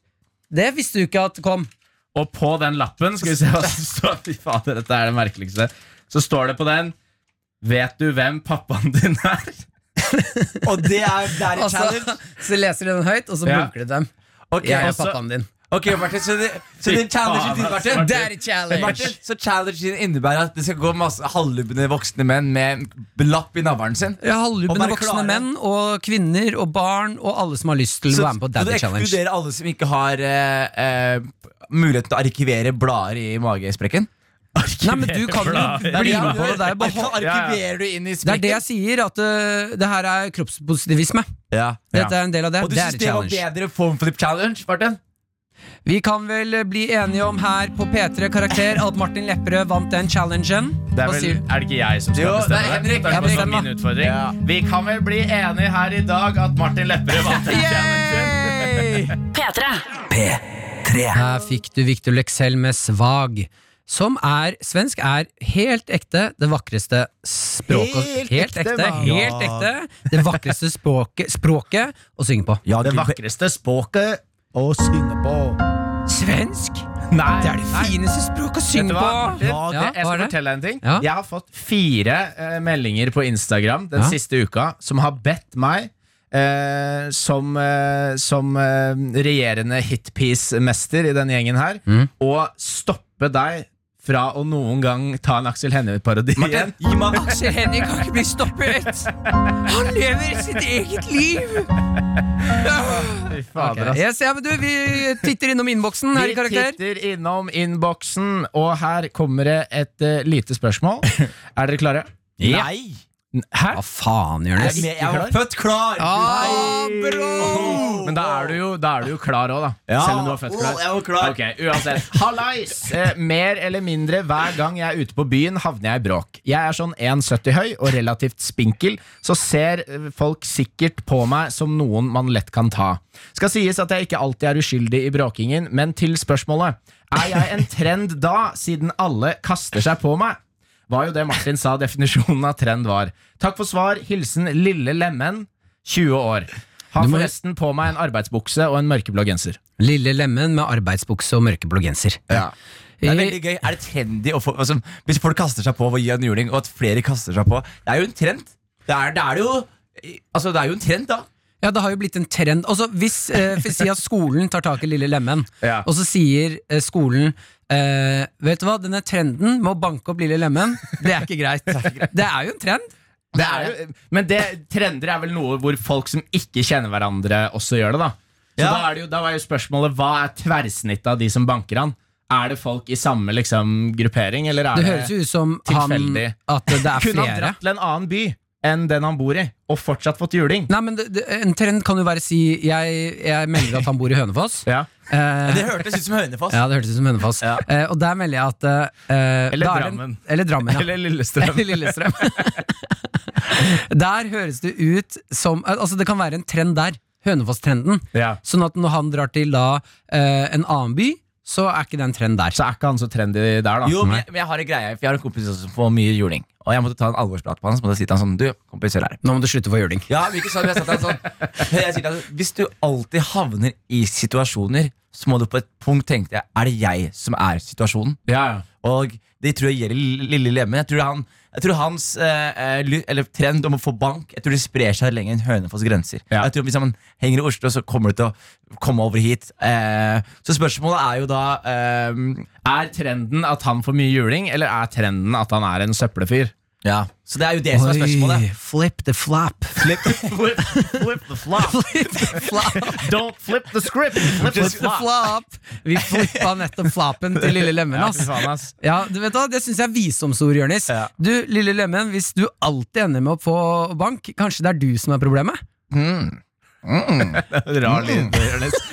B: Det visste du ikke at kom.
C: Og på den lappen Skal vi se hva som [LAUGHS] står Fy fader, dette er det merkeligste Så står det på den Vet du hvem pappaen din er?
E: Og det er, det er en
B: Og så,
E: challenge.
B: Altså- så leser du den høyt, og så
C: Ja.
B: blunker du dem.
E: Ok,
B: Jeg er
E: og så-
B: pappaen din.
E: ok, Martin, så, det, så
C: Fy
E: den challengen
C: faen,
E: din,
C: ass,
E: Martin
C: Martin.
B: Daddy challenge!
E: Martin, så challengen din innebærer at det skal gå masse halvlubne voksne menn med lapp i navlen sin?
B: Ja,
E: Og
B: Halvlubne
E: bare
B: voksne
E: klare.
B: menn og kvinner og barn og alle som har lyst til å være med på Daddy Challenge.
E: ekskluderer alle som ikke har eh, eh, muligheten til å arkivere blader i magesprekken?
B: Nei, men du kan jo
C: Bla-
B: bli med på det
E: [LAUGHS]
B: der.
E: Arki-
B: Behold-
E: Arkiverer du inn i
B: Det er det
E: sprekken?
B: jeg sier, at uh, det her er kroppspositivisme.
E: ja.
B: Dette er en del av det.
E: Og du
B: Det
E: syns
B: er
E: det var
B: challenge.
E: bedre form flip challenge, Martin?
B: Vi kan vel uh, bli enige om her på P3 Karakter at Martin Lepperød vant den challengen.
C: Det er,
B: Hva
C: vel,
B: sier du?
C: er det ikke jeg som skal
E: Jo,
C: bestemme?
E: det er Henrik,
C: det er bare
B: Henrik.
C: sånn min utfordring
E: Ja.
C: Vi kan vel bli enige her i dag At Martin Lepperød
B: [LAUGHS]
C: vant den challengen
A: P3.
B: Her fikk du Victor Leksell med Svag. Som er svensk, er helt ekte det vakreste språket
C: Helt ekte,
B: ekte,
C: hva?
B: helt ekte Det vakreste språket, språket å synge på.
C: Det vakreste språket å synge på
B: Svensk?
C: Nei
B: Det er det fineste språket å
C: Vet du
B: synge
C: hva,
B: på!
C: Martin?
B: Ja, hva
C: jeg
B: er
C: skal
B: det?
C: fortelle deg en ting.
B: Ja.
C: Jeg har fått fire eh, meldinger på Instagram den
B: Ja.
C: siste uka som har bedt meg eh, som eh, som eh, regjerende hitpiece-mester i denne gjengen her
B: Mm.
C: å stoppe deg fra å noen gang ta en Aksel Hennie-parodi igjen.
E: Gi meg
B: Aksel Hennie kan ikke bli stoppet! Han lever sitt eget
C: [LAUGHS]
B: liv!
C: Fy
B: Ok,
C: fader, ass.
B: Yes, ja, men du, vi titter innom innboksen her i
C: Vi
B: Karakter.
C: titter innom innboksen, og her kommer det et eh, lite
B: [LAUGHS]
C: spørsmål. er dere klare?
E: Nei!
C: Hæ?
B: Hva faen,
E: Jeg,
B: Jonis?
E: er med- jeg var født klar!
B: Ah,
E: bro!
C: Men da er du jo, da er du jo klar òg, da.
E: Ja.
C: Selv om du var født klar.
E: Åh, jeg var klar.
C: Ok,
E: [LAUGHS]
C: uansett. Hallais! Eh, mer eller mindre hver gang jeg er ute på byen, havner jeg i bråk. Jeg er sånn 1,70 høy og relativt spinkel, så ser eh, folk sikkert på meg som noen man lett kan ta. Skal sies at jeg ikke alltid er uskyldig i bråkingen, men til spørsmålet. Er jeg en trend da, siden alle kaster seg på meg? Var jo det Martin sa definisjonen av trend var. Takk for svar. Hilsen Lille Lemen, 20 år. Har
B: Du må-
C: forresten på meg en arbeidsbukse og en mørkeblå genser.
B: Lille Lemmen med arbeidsbukse og Eh, mørkeblå genser.
E: Det er veldig gøy. Er det trendy å få altså, Hvis folk kaster seg på å gi en juling, og at flere kaster seg på Det er jo en trend. Det er, det er jo Altså, det er jo en trend, da.
B: Ja, det har jo blitt en trend. Altså, hvis eh, for å si at skolen tar tak i Lille Lemmen,
C: Ja.
B: og så sier eh, skolen eh, Vet du hva, denne trenden med å banke opp Lille Lemmen, det er ikke greit. Det er jo en trend.
C: Det er jo, men det, trender er vel noe hvor folk som ikke kjenner hverandre, også gjør det. Da Så
E: Ja.
C: da, er det jo, da var jo spørsmålet hva er tverrsnittet av de som banker han? Er det folk i samme liksom, gruppering, eller er
B: Det
C: det,
B: høres jo ut som han,
C: tilfeldig?
B: at det er
C: [LAUGHS] Kunne han
B: flere.
C: dratt til en annen by enn den han bor i, og fortsatt fått juling?
B: Nei, men det, det, En trend kan jo være si jeg, jeg melder at han bor i Hønefoss.
C: Ja.
B: Eh,
E: Det hørtes ut som Hønefoss.
B: Ja, det hørtes ut som Hønefoss.
E: Ja.
B: Eh, og der melder jeg at eh,
C: Eller
B: da er det-
C: Drammen.
B: Eller Drammen, ja.
C: Eller Lillestrøm.
B: Eller [LAUGHS]
C: [LAUGHS]
B: Lillestrøm. [LAUGHS] der høres det ut som eh, Altså, det kan være en trend der. Hønefoss-trenden.
C: Ja.
B: Sånn at når han drar til da eh, en annen by, så er ikke det en trend der.
C: Så er ikke han så trendy der, da.
E: Jo, men jeg, men jeg har en greie For jeg har en kompis som får mye juling. Og jeg måtte ta en alvorsprat på han. Så måtte jeg si til han sånn Du, kompis, hør her.
B: Nå må du slutte å få juling.
E: Ja, men ikke sånn, men jeg sa til han sånn jeg sier til han, Hvis du alltid havner i situasjoner, så må du på et punkt tenke deg Er det jeg som er situasjonen?
C: Ja, ja.
E: Og det tror jeg gjelder Lille Lemmen. Jeg tror han, Jeg tror hans eh, eh, ly- eller trend om å få bank Jeg tror det sprer seg lenger enn Hønefoss grenser.
C: Ja.
E: Jeg tror Hvis man henger i Oslo, så kommer det til å komme over hit. Eh, så spørsmålet er jo da eh,
C: Er trenden at han får mye juling, eller er trenden at han er en søppelfyr?
E: Ja, Så det er jo det som er spørsmålet.
B: flip the flap. [LAUGHS]
C: Flip, flip, [LAUGHS] flip the flop. Don't flip the script. Flip the
B: Flip the
C: flop.
B: flap. Vi flippa nettopp flapen til Lille Lemen,
C: Ja,
B: ass.
C: fy faen, ass.
B: Ja, du vet hva, Det syns jeg er visdomsord, Jonis.
E: Ja.
B: Du, Lille Lemen, hvis du alltid ender med å få bank, kanskje det er du som er problemet?
C: Rar lyd. Jonas.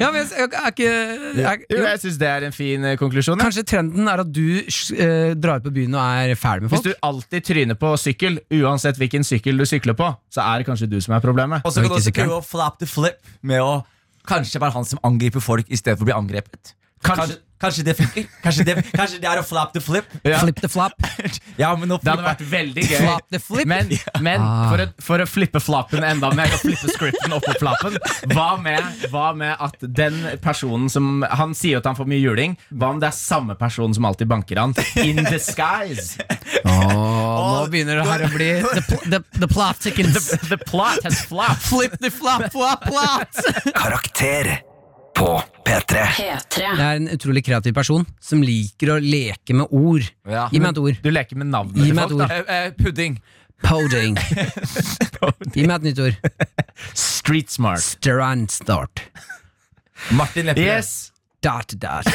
B: Ja, men jeg, er ikke er,
C: Jo,
B: jo,
C: jeg syns det er en fin eh, konklusjon. ja.
B: Kanskje trenden er at du eh, drar på byen og er ferdig med
C: Hvis
B: folk?
C: du alltid tryner på sykkel, uansett hvilken sykkel du sykler på, så er det kanskje du som er problemet.
E: Og så kan
B: Og
E: du også
B: ikke
E: prøve å flap the flip med å kanskje være han som angriper folk istedenfor å bli angrepet. Kanskje,
C: Kanskje-
E: kanskje det funker? Kanskje det, kanskje det er å flap the flip?
C: Ja.
B: Flip the flap.
E: Ja, men nå
C: Det hadde
E: flipper-
C: vært veldig gøy.
B: Flap the flip.
C: Men, men
B: Ah.
C: for, å, for å flippe flappen enda mer, og flippe scripten oppå flappen, hva med, hva med at den personen som Han sier at han får mye juling. Hva om det er samme person som alltid banker han? In disguise.
B: nå begynner det her å bli The, pl- the, the plot thickens.
C: The plot has flapped.
B: Flip the flap, flap, flap!
D: Karakter på P3.
A: P3.
B: Jeg er en utrolig kreativ person som liker å leke med ord.
E: Ja.
B: Gi meg et ord.
C: Du leker med navnet
B: Gi
C: til
B: meg et
C: folk.
B: ord.
E: Eh, eh, Pudding.
B: Poding. Gi meg et nytt ord.
C: Street smart.
B: Strandstart.
E: Martin Lepperød.
C: Yes.
B: Dot, dot.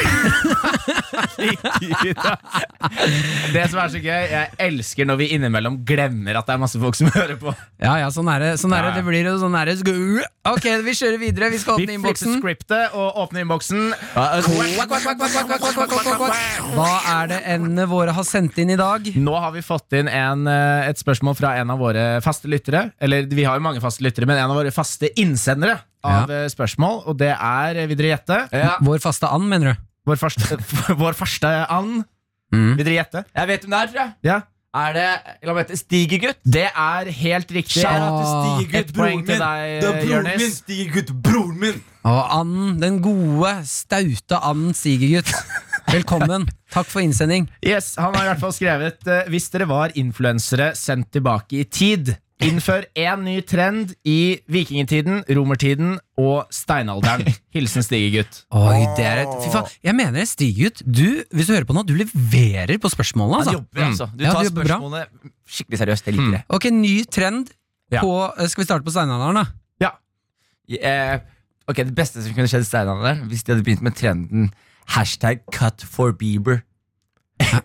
C: [LAUGHS] Det som er så gøy, jeg elsker når vi innimellom glemmer at det er masse folk som [LAUGHS] hører på.
B: Ja, ja, sånn er det. Sånn er det,
C: Ja, ja.
B: det blir det. Sånn er det. Sk- Ok, vi kjører videre. Vi skal
C: Vi
B: åpne
C: flipper
B: innboksen.
C: scriptet og åpner innboksen.
E: altså-
B: Kvakk, kvakk, kvakk, kvakk, kvakk, kvakk, kvakk, kvakk, kvakk. Hva er det endene våre har sendt inn i dag?
C: Nå har vi fått inn en, eh, et spørsmål fra en av våre faste lyttere. Eller vi har jo mange faste lyttere, men en av våre faste innsendere av eh, spørsmål. Og det er, eh, vil dere gjette,
B: Vår faste and, mener du?
C: vår første, [LAUGHS] vår første and.
B: Mm.
C: Vil dere gjette?
E: Jeg vet hvem det er, tror jeg.
C: Ja.
E: Er det La meg hete Stigegutt?
C: Det er helt riktig.
E: Kjære til
B: Ah,
E: Stigegutt,
C: et
E: broren
C: poeng
E: min.
C: til deg,
E: det er broren
C: Jonis.
E: min, Stigegutt, broren min!
B: Og and, den gode, staute and Sigergutt. Velkommen. Takk for innsending.
C: Yes, Han har i hvert fall skrevet eh, Hvis dere var influensere sendt tilbake i tid, innfør én ny trend i vikingtiden, romertiden og steinalderen. Hilsen Stigegutt.
B: Oi, det er et Fy faen. Jeg mener det, Stigergutt. Du, hvis du hører på nå, du leverer på spørsmålene,
E: Han
B: altså.
E: jobber, altså. Du
B: Ja,
E: tar
B: du jobber bra. Hmm.
E: spørsmålene skikkelig seriøst. Jeg liker det.
B: Ok, ny trend
C: Ja.
B: på eh, Skal vi starte på steinalderen, da?
C: Ja.
E: Eh, ok, Det beste som kunne skjedd Steinalderen, hvis de hadde begynt med trenden hashtag cut for Bieber.
B: Hva?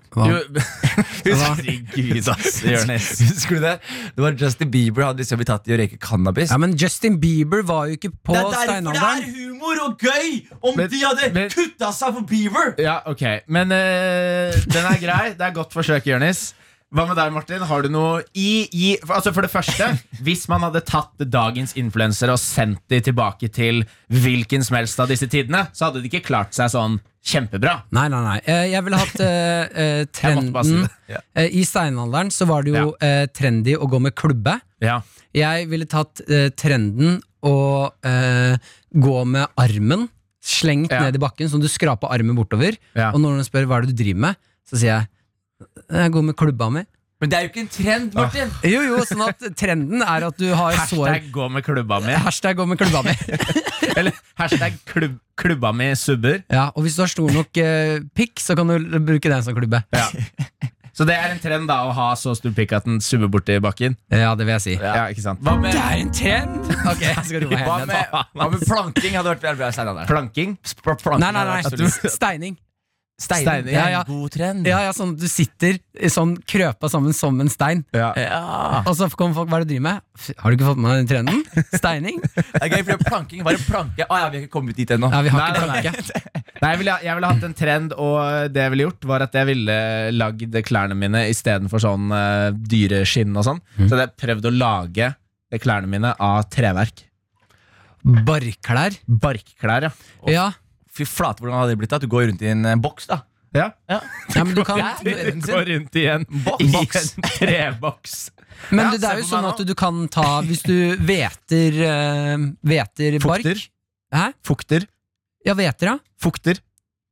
E: Herregud, ass, Jonis. [LAUGHS] Husker du det? Det var Justin Bieber hadde liksom blitt tatt i å røyke cannabis.
B: Ja, men Justin Bieber var jo ikke på
E: det er derfor det er
B: steinalderen.
E: humor og gøy om
C: Men-
E: de hadde
C: men-
E: kutta seg for Bieber!
C: Ja, ok Men eh, den er grei. Det er godt forsøk, Jonis. Hva med deg, Martin? Har du noe i, i for, Altså For det første, hvis man hadde tatt dagens influensere og sendt de tilbake til hvilken som helst av disse tidene, så hadde de ikke klart seg sånn kjempebra.
B: Nei, nei, nei. Eh, Jeg ville hatt eh, eh,
C: måtte bare si
B: trenden
C: det. Ja.
B: Eh, I steinalderen så var det jo eh, trendy å gå med klubbe.
C: Ja
B: Jeg ville tatt eh, trenden å eh, gå med armen slengt
C: Ja.
B: ned i bakken, sånn du skraper armen bortover.
C: Ja.
B: Og når noen spør hva er det du driver med, så sier jeg jeg går med klubba mi.
E: Men det er jo ikke en trend, Martin.
B: Jo, jo, sånn
C: [LAUGHS]
B: at trenden er at du har sår
C: Hashtag gå med klubba mi.
B: Hashtag gå med klubba mi.
C: Eller hashtag klubb, klubba mi subber.
B: Ja, og hvis du har stor nok eh, pikk, så kan du l- bruke den som klubbe.
C: Ja. Så det er en trend da å ha så stor pikk at den subber borti bakken.
B: Ja, det vil jeg si.
C: Ja, ikke sant Hva med
B: Det er en trend! Ok, jeg skal roe meg
E: Hva
B: ned. [LAUGHS]
E: med, hva med planking hadde vært veldig bra i Steinalderen?
C: planking?
E: Pl- planking
B: Nei, nei,
E: hadde vært
B: nei.
E: absolutt-
B: Steining.
E: Steining
C: Steining,
E: er en
B: ja, ja.
E: god trend.
B: Ja, ja, sånn at du sitter i sånn krøpa sammen som en stein. Eh,
C: Ja.
E: Ja.
B: Og så kommer folk hva er det du driver med. F- Har du ikke fått med deg den
E: [LAUGHS]
B: trenden? Steining?
E: Det er gøy, for planking var en planke. Å ja, vi har ikke kommet dit ennå.
B: Ja, vi har
C: Nei,
B: ikke
C: nei,
B: planke.
C: Nei, jeg ville, jeg ville hatt en trend, og det jeg ville gjort, var at jeg ville lagd klærne mine istedenfor sånn uh, dyreskinn og sånn. Så hadde jeg prøvd å lage klærne mine av treverk.
B: Barklær.
C: Barkklær, ja.
B: Ja.
E: Fy flate, hvordan hadde det blitt da? At du går rundt i en eh, boks, da.
C: ja.
B: ja, men du kan
E: Ja, det-
B: Men
C: Gå rundt i en
E: Boks.
C: i en Treboks.
B: du, det
E: Ja,
B: er jo
E: se på
B: sånn
E: meg
B: at du kan ta Hvis du hveter eh, Hveter bark
C: Fukter.
B: Hæ?
C: Fukter.
B: Ja, hveter, ja.
C: Fukter.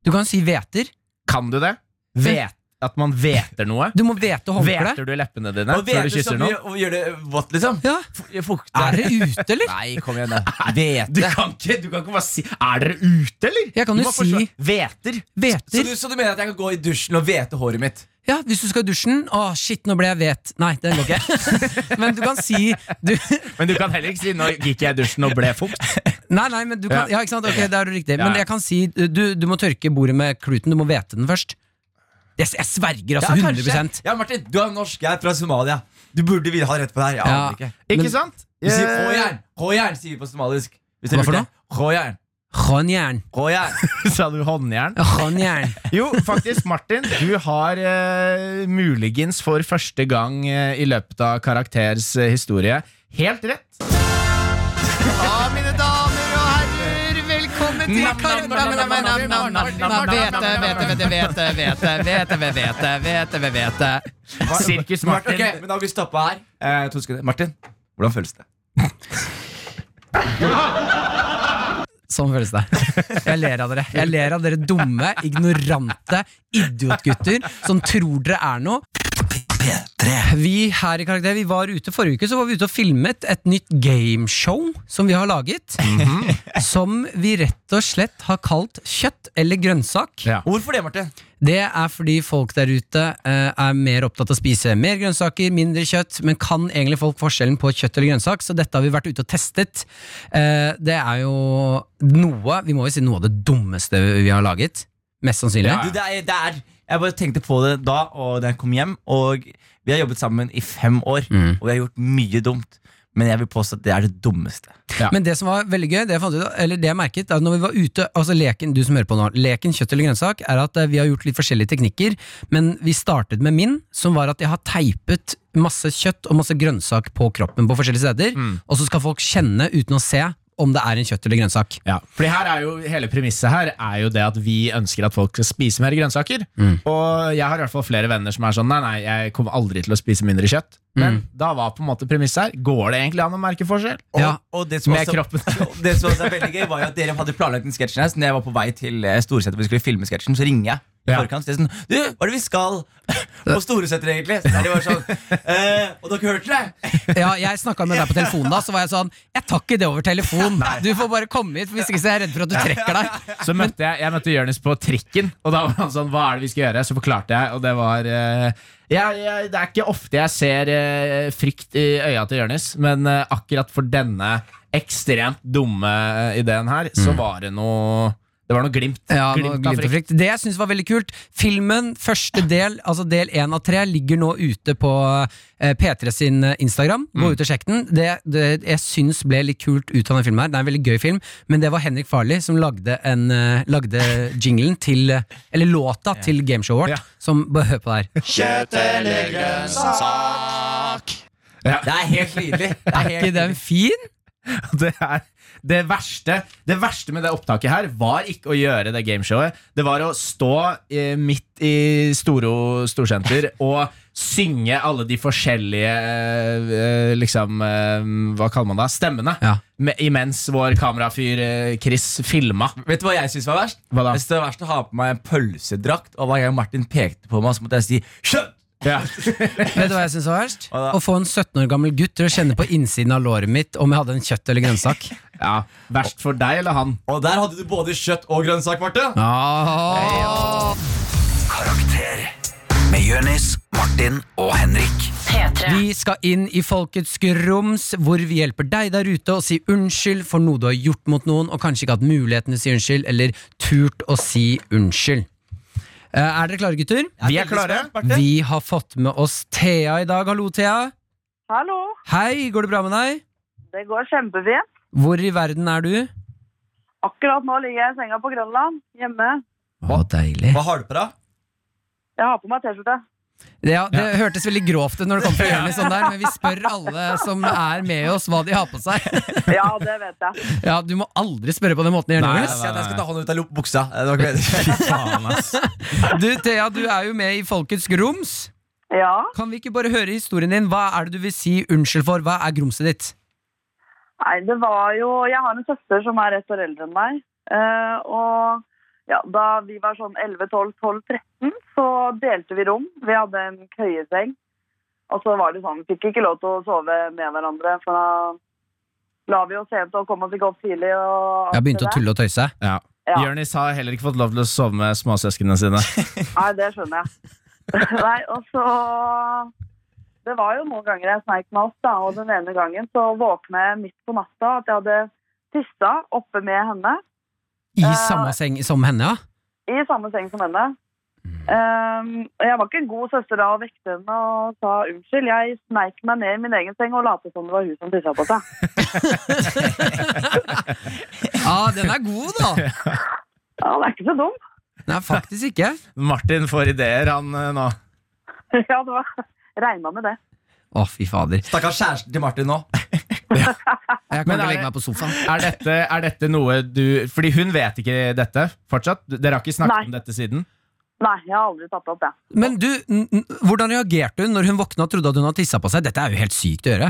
B: Du kan si hveter.
C: Kan du det? Vet, at man hveter noe?
B: Du må vete håndkle.
C: Hveter du leppene dine
E: Og
C: før
E: hvete
C: du kysser
E: så mye,
C: noen?
E: og gjør det vått, liksom.
B: Ja.
E: F- Fukte.
B: Er dere ute, eller?
E: Nei, kom igjen, da. Hvete.
C: Du kan, ikke, du kan ikke bare si Er dere ute, eller?
B: Jeg kan
C: Du
B: jo
C: må forsvare-
B: si-
C: Hveter.
E: Så
B: Hveter.
E: du, så du mener at jeg kan gå i dusjen og hvete håret mitt?
B: Ja, hvis du skal i dusjen. Å, shit, nå ble jeg vet. Nei, det går
E: [LAUGHS]
B: ikke. Men du kan si du,
C: Men du kan heller ikke si 'nå gikk jeg i dusjen og ble fukt'.
B: Nei, nei, men du kan Ja, ikke sant? Ok, da er du riktig.
C: Ja,
B: Men
C: ja.
B: jeg kan si du, du må tørke bordet med kluten. Du må hvete den først. Jeg, jeg sverger, altså. 100
E: Ja, Martin, du er norsk, jeg er fra Somalia. Du burde vi ha rett på det her. Jeg aner
B: Ja.
E: ikke.
C: Ikke
B: Men-
C: sant?
E: Du sier
C: Eh,
E: håjern. Håjern sier vi på somalisk. Hvis dere
B: Hva for
E: lurte. Håjern.
B: Håndjern.
E: Håjern.
C: [LAUGHS] Sa du håndjern?
B: Håndjern.
C: Jo, faktisk, Martin. Du har eh, muligens for første gang eh, i løpet av Karakters eh, historie helt rett. Ja, mine damer og herrer, velkommen til Sirkus
E: Martin.
C: Martin.
E: Ok, men da har vi stoppa her. Eh, to sekunder. Martin, hvordan føles det?
B: Sånn føles det. Jeg ler av dere. Jeg ler av dere dumme, ignorante idiotgutter som tror dere er noe. Vi her i Karakter Vi var ute forrige uke Så var vi ute og filmet et nytt gameshow som vi har laget. [LAUGHS] Som vi rett og slett har kalt Kjøtt eller grønnsak.
C: Ja.
E: Hvorfor det, Martin?
B: Det er fordi folk der ute eh, er mer opptatt av å spise mer grønnsaker, mindre kjøtt, men kan egentlig folk forskjellen på kjøtt eller grønnsak? Så dette har vi vært ute og testet. Eh, det er jo noe Vi må jo si noe av det dummeste vi har laget. Mest sannsynlig.
E: Du, det er, det er Jeg bare tenkte på det da Og da jeg kom hjem Og vi har jobbet sammen i fem år
B: Mm.
E: Og vi har gjort mye dumt Men jeg vil påstå at det er det dummeste
C: Ja.
B: Men det som var veldig gøy, det jeg, fant ut, av- eller det jeg merket, er at når vi var ute Altså leken, du som hører på nå, leken kjøtt eller grønnsak, er at eh, vi har gjort litt forskjellige teknikker, men vi startet med min, som var at jeg har teipet masse kjøtt og masse grønnsak på kroppen på forskjellige steder, og så skal folk kjenne uten å se om det er en kjøtt eller grønnsak.
C: Ja, fordi her er jo Hele premisset her er jo det at vi ønsker at folk skal spise mer grønnsaker. Og jeg har i hvert fall flere venner som er sånn Nei, nei, jeg kommer aldri til å spise mindre kjøtt. Men da var på en måte premisset her. Går det egentlig an å merke forskjell?
E: Og,
B: Ja.
E: og det som
C: Med
E: også, [LAUGHS]
C: kroppen.
E: Det som også er veldig gøy Var jo at dere hadde planlagt den sketsjen her Så når jeg var på vei til eh, Storesett Og vi skulle filme sketsjen Så ringer jeg i
C: Ja.
E: forkant, så jeg er sånn, du, hva er det vi skal [LAUGHS] på Storesetter egentlig? Så er de bare sånn, eh, og dere hørte det?
B: Ja, jeg snakka med deg på telefonen da, så var jeg sånn Jeg tar ikke det over telefon. Du får bare komme hit, hvis ikke så er jeg redd for at du trekker deg.
C: Så møtte jeg, jeg møtte Jonis på trikken, og da var han sånn Hva er det vi skal gjøre? Så forklarte jeg, og det var eh, jeg, jeg, Det er ikke ofte jeg ser eh, frykt i øya til Jonis, men eh, akkurat for denne ekstremt dumme eh, ideen her, så var det noe Det var noe glimt.
B: Ja, nå,
C: glimt av frykt.
B: glimt det jeg syns var veldig kult Filmen, første del, altså del én av tre, ligger nå ute på eh, P3 sin eh, Instagram. Gå ut og sjekk den. Det, det jeg syns ble litt kult ut av den filmen her. Det er en veldig gøy film, men det var Henrik Farley som lagde, en, eh, lagde jinglen til eh, Eller låta til gameshowet vårt,
C: Ja.
B: som Bare hør på det her.
E: Det er helt nydelig. Det [LAUGHS] er
B: Er
E: helt
B: ikke den fin?
C: [LAUGHS] det, er, det, verste, det verste med det opptaket her var ikke å gjøre det gameshowet. Det var å stå eh, midt i Storo [LAUGHS] storsenter og synge alle de forskjellige eh, liksom, eh, Hva kaller man det? Stemmene.
B: Ja.
C: Me- imens vår kamerafyr eh, Chris filma.
E: Vet du hva jeg synes var verst?
C: Hva da?
E: Jeg synes det var verst å ha på meg en pølsedrakt Og hver gang Martin pekte på meg Så måtte jeg si, skjønt!
C: Ja.
B: Vet du hva jeg syns var verst?
E: Hva da?
B: Å få en 17 år gammel gutt til å kjenne på innsiden av låret mitt om jeg hadde en kjøtt eller grønnsak.
C: [LAUGHS] ja. Verst for deg eller han?
E: Og der hadde du både kjøtt og grønnsak, Martin
D: Karakter Med Jørnis, Martin og Henrik
B: Vi skal inn i Folkets grums, hvor vi hjelper deg der ute å si unnskyld for noe du har gjort mot noen, og kanskje ikke hatt muligheten til å si unnskyld, eller turt å si unnskyld. Eh, Er dere klare, gutter?
C: Vi er klare.
B: Vi har fått med oss Thea i dag. Hallo, Thea.
F: Hallo,
B: Hei, går det bra med deg?
F: det går kjempefint.
B: Hvor i verden er du?
F: Akkurat nå ligger jeg i senga på Grønland, hjemme.
B: Å, deilig.
E: Hva har du på deg?
F: Jeg har på meg T-skjorte.
B: Ja, Det hørtes veldig grovt ut når det [LAUGHS] kom fra Jonis, sånn der, men vi spør alle som er med oss, hva de har på [LAUGHS] seg.
F: Ja, det vet jeg.
B: Ja, Du må aldri spørre på den måten.
C: Nei,
B: Jonis.
E: Jeg skal ta hånden ut av lo- buksa. Eh, det var ikke det.
B: Du, Thea, du er jo med i Folkets grums.
F: Ja,
B: Kan vi ikke bare høre historien din? Hva er det du vil si unnskyld for? Hva er grumset ditt?
F: nei, det var jo Jeg har en søster som er ett år eldre enn meg. eh, og ja, da vi var sånn 11-12-12-13, så delte vi rom. Vi hadde en køyeseng. Og så var det sånn, vi fikk ikke lov til å sove med hverandre, for da la vi oss sent og kom oss ikke opp tidlig. Og
B: Jeg har begynt å tulle og tøyse.
C: Ja.
F: Ja.
C: Jonis har heller ikke fått lov til å sove med småsøsknene sine. [LAUGHS]
F: Nei, det skjønner jeg. [LAUGHS] Nei, og så Det var jo noen ganger jeg sneik meg opp, da, og den ene gangen så våkna jeg midt på natta at jeg hadde tissa oppe med henne.
B: I
F: Ja.
B: samme seng som henne,
C: [LAUGHS]
B: ja?
F: I samme seng som henne. Ehm, og jeg var ikke en god søster da og vekte henne og sa unnskyld. Jeg sneik meg ned i min egen seng og lot som det var hun som tissa på seg.
B: Ja, den er god, da!
F: Ja, det er ikke så dum.
B: Nei, faktisk ikke.
C: Martin får ideer, han eh, nå.
F: [LAUGHS] ja, det var Regna med det.
B: Å, fy fader.
E: [LAUGHS] Stakkars kjæresten til Martin nå.
B: Jeg
C: Men
B: kan
C: er
B: ikke legge
C: det-
B: meg på sofaen.
C: Er dette, er dette noe du Fordi hun vet ikke dette fortsatt? Dere har ikke snakket
F: Nei.
C: om dette siden?
F: Nei, jeg har aldri tatt opp det.
B: Men du, n n hvordan reagerte hun når hun våkna og trodde at hun hadde tissa på seg? Dette er jo helt sykt å gjøre.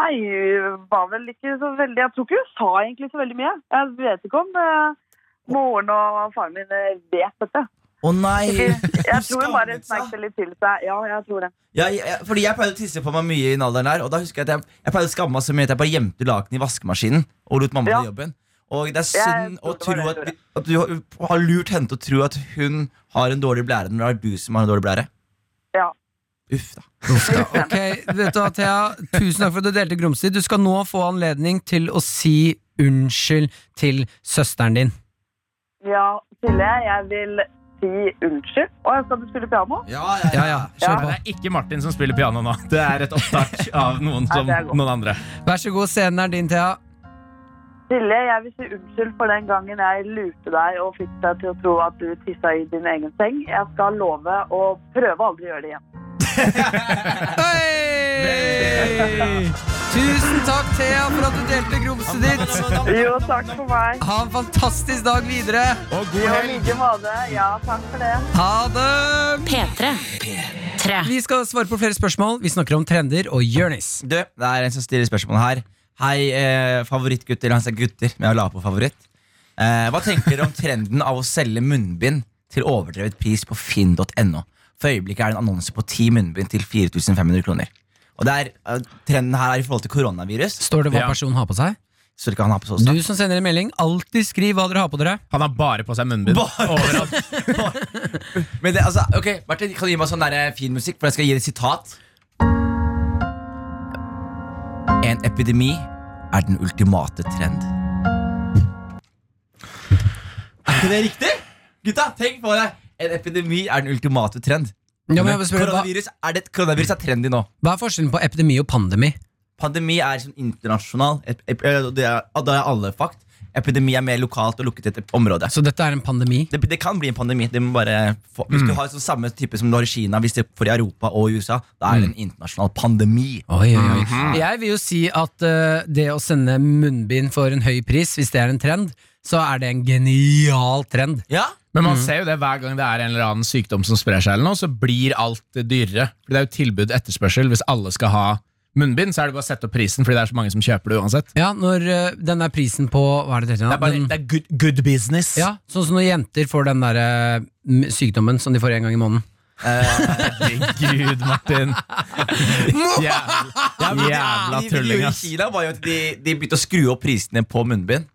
F: Nei, hun var vel ikke så veldig Jeg tror ikke hun sa egentlig så veldig mye. Jeg vet ikke om eh, moren og faren min eh, vet
E: [LAUGHS]
F: dette.
E: Å nei!
F: Ikke- Jeg tror hun bare
E: Skammet seg.
F: sneik det litt til seg. Ja, jeg tror det.
E: Ja, jeg, fordi jeg pleide å tisse på meg mye i den alderen der. Og da husker jeg at jeg, jeg pleide å skamme meg så mye at jeg bare gjemte lakenet i vaskemaskinen og lot mamma
F: Ja.
E: gjøre jobben. Og det er synd å
F: tror det var
E: tro
F: det
E: at,
F: jeg
E: at du har- har lurt henne til å tro at hun har en dårlig blære når det er du som har en dårlig blære.
F: Ja.
E: Uff da.
B: Ok, vet du hva, Thea? Tusen takk for at du delte grumstid. Du skal nå få anledning til å si unnskyld til søsteren din.
F: Ja, Silje, jeg vil si unnskyld. Å, jeg skal du spille piano?
E: Ja,
B: Ja, ja, kjør på.
C: Nei, Det er ikke Martin som spiller piano nå. Det er et
F: [LAUGHS]
C: opptak av noen, som,
F: det er godt.
C: noen andre.
B: Vær så god, scenen er din, Thea.
F: Silje, jeg vil si unnskyld for den gangen jeg lurte deg og fikk deg til å tro at du tissa i din egen seng. Jeg skal love å prøve aldri å gjøre det igjen.
B: Hei! Tusen takk, Thea, for at du delte grumset ditt.
F: Jo, takk for meg.
B: Ha en fantastisk dag videre.
C: Og god
F: Jo, i
C: helg!
F: like måte. Ja, takk for det.
B: Ha det!
A: P3. Tre.
B: Vi skal svare på flere spørsmål. Vi snakker om trender og Jonis.
E: Du, det er en som stiller spørsmål her. Hei, eh, favorittgutter. Han sier gutter, men jeg la på favoritt. Eh, hva tenker dere om trenden av å selge munnbind til overdrevet pris på finn.no? For øyeblikket er det en annonse på ti munnbind til 4500 kroner. Og det er, eh, Trenden her er i forhold til koronavirus.
B: Står det hva
C: Ja.
B: personen har på seg?
E: Så det kan han ha på seg
B: Du
E: også.
B: som sender en melding, alltid skriv hva dere har på dere.
C: Han har bare på seg munnbind.
F: [LAUGHS]
C: Overalt.
E: Men det, altså, ok, Martin, kan du gi meg sånn der, eh, fin musikk? For jeg skal gi deg et sitat. En epidemi er den ultimate trend. Er ikke det riktig? Gutta, tenk på det. En epidemi er den ultimate trend.
B: Ja, men jeg vil spørre, hva,
E: Koronavirus er, det, koronavirus er trendy nå.
B: hva er forskjellen på epidemi og pandemi?
E: Pandemi er sånn internasjonal. Ep, ep, eh, det er, da er alle fakt. Epidemi er mer lokalt og lukket til et område.
B: Så dette er en pandemi?
E: Det, det kan bli en pandemi. Det må bare få, hvis
B: Mm.
E: du har sånn samme type som du har i Kina, hvis det får i Europa og i USA, da er det en
B: Mm.
E: internasjonal pandemi.
B: Oi, oi, oi. Jeg vil jo si at eh, det å sende munnbind for en høy pris, hvis det er en trend, så er det en genial trend.
E: Ja?
C: Men man ser jo det hver gang det er en eller annen sykdom som sprer seg, eller noe, så blir alt dyrere. Fordi det er jo tilbud etterspørsel. Hvis alle skal ha munnbind, så er det bare å sette opp prisen, fordi det er så mange som kjøper det uansett.
B: Ja, når eh, den der prisen på Hva er det det
C: Det
B: heter?
C: er,
B: nå?
C: bare,
B: Den-
C: det er good, good business.
B: Mm. Ja, sånn som når jenter får den der eh, m- sykdommen som de får en gang i måneden.
C: Herregud, Martin. [LAUGHS] Jævla, jævla
E: de, de, de,
C: tulling,
E: gjorde i
C: ass.
E: Kina var jo at de, de begynte å skru opp prisene på munnbind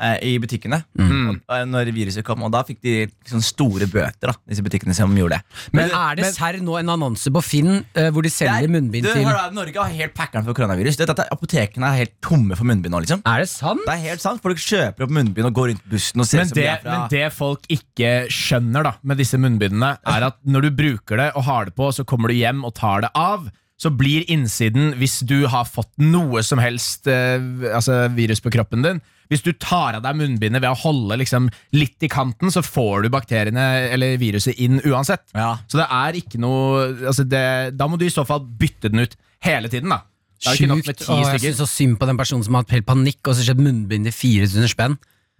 E: eh, i butikkene
B: Mm.
E: og, eh, når viruset kom. Og da fikk de sånne store bøter, da, disse butikkene som gjorde det.
B: Men er det serr nå en annonse på Finn eh, hvor de selger munnbind
E: du,
B: til
E: hør da, Norge har helt packeren for koronavirus. Du vet at Apotekene er helt tomme for munnbind nå, liksom.
B: Er det sant?
E: Det er helt sant. Folk kjøper opp munnbind og går rundt bussen og ser
C: Men
E: ut som
C: det,
E: de er fra
C: men det folk ikke skjønner da med disse munnbindene, er at når du bruker det og har det på, så kommer du hjem og tar det av. Så blir innsiden, hvis du har fått noe som helst eh, altså virus på kroppen din Hvis du tar av deg munnbindet ved å holde liksom, litt i kanten, så får du bakteriene eller viruset inn uansett.
E: Ja.
C: Så det er ikke noe altså det, Da må du i så fall bytte den ut hele tiden, da. Det er jo ikke nok med
B: Sjukt.
C: ti
B: Og jeg
C: stykker.
B: syns så synd på den personen som har hatt helt panikk og så kjøpt munnbind til 400
C: [LAUGHS]
B: spenn.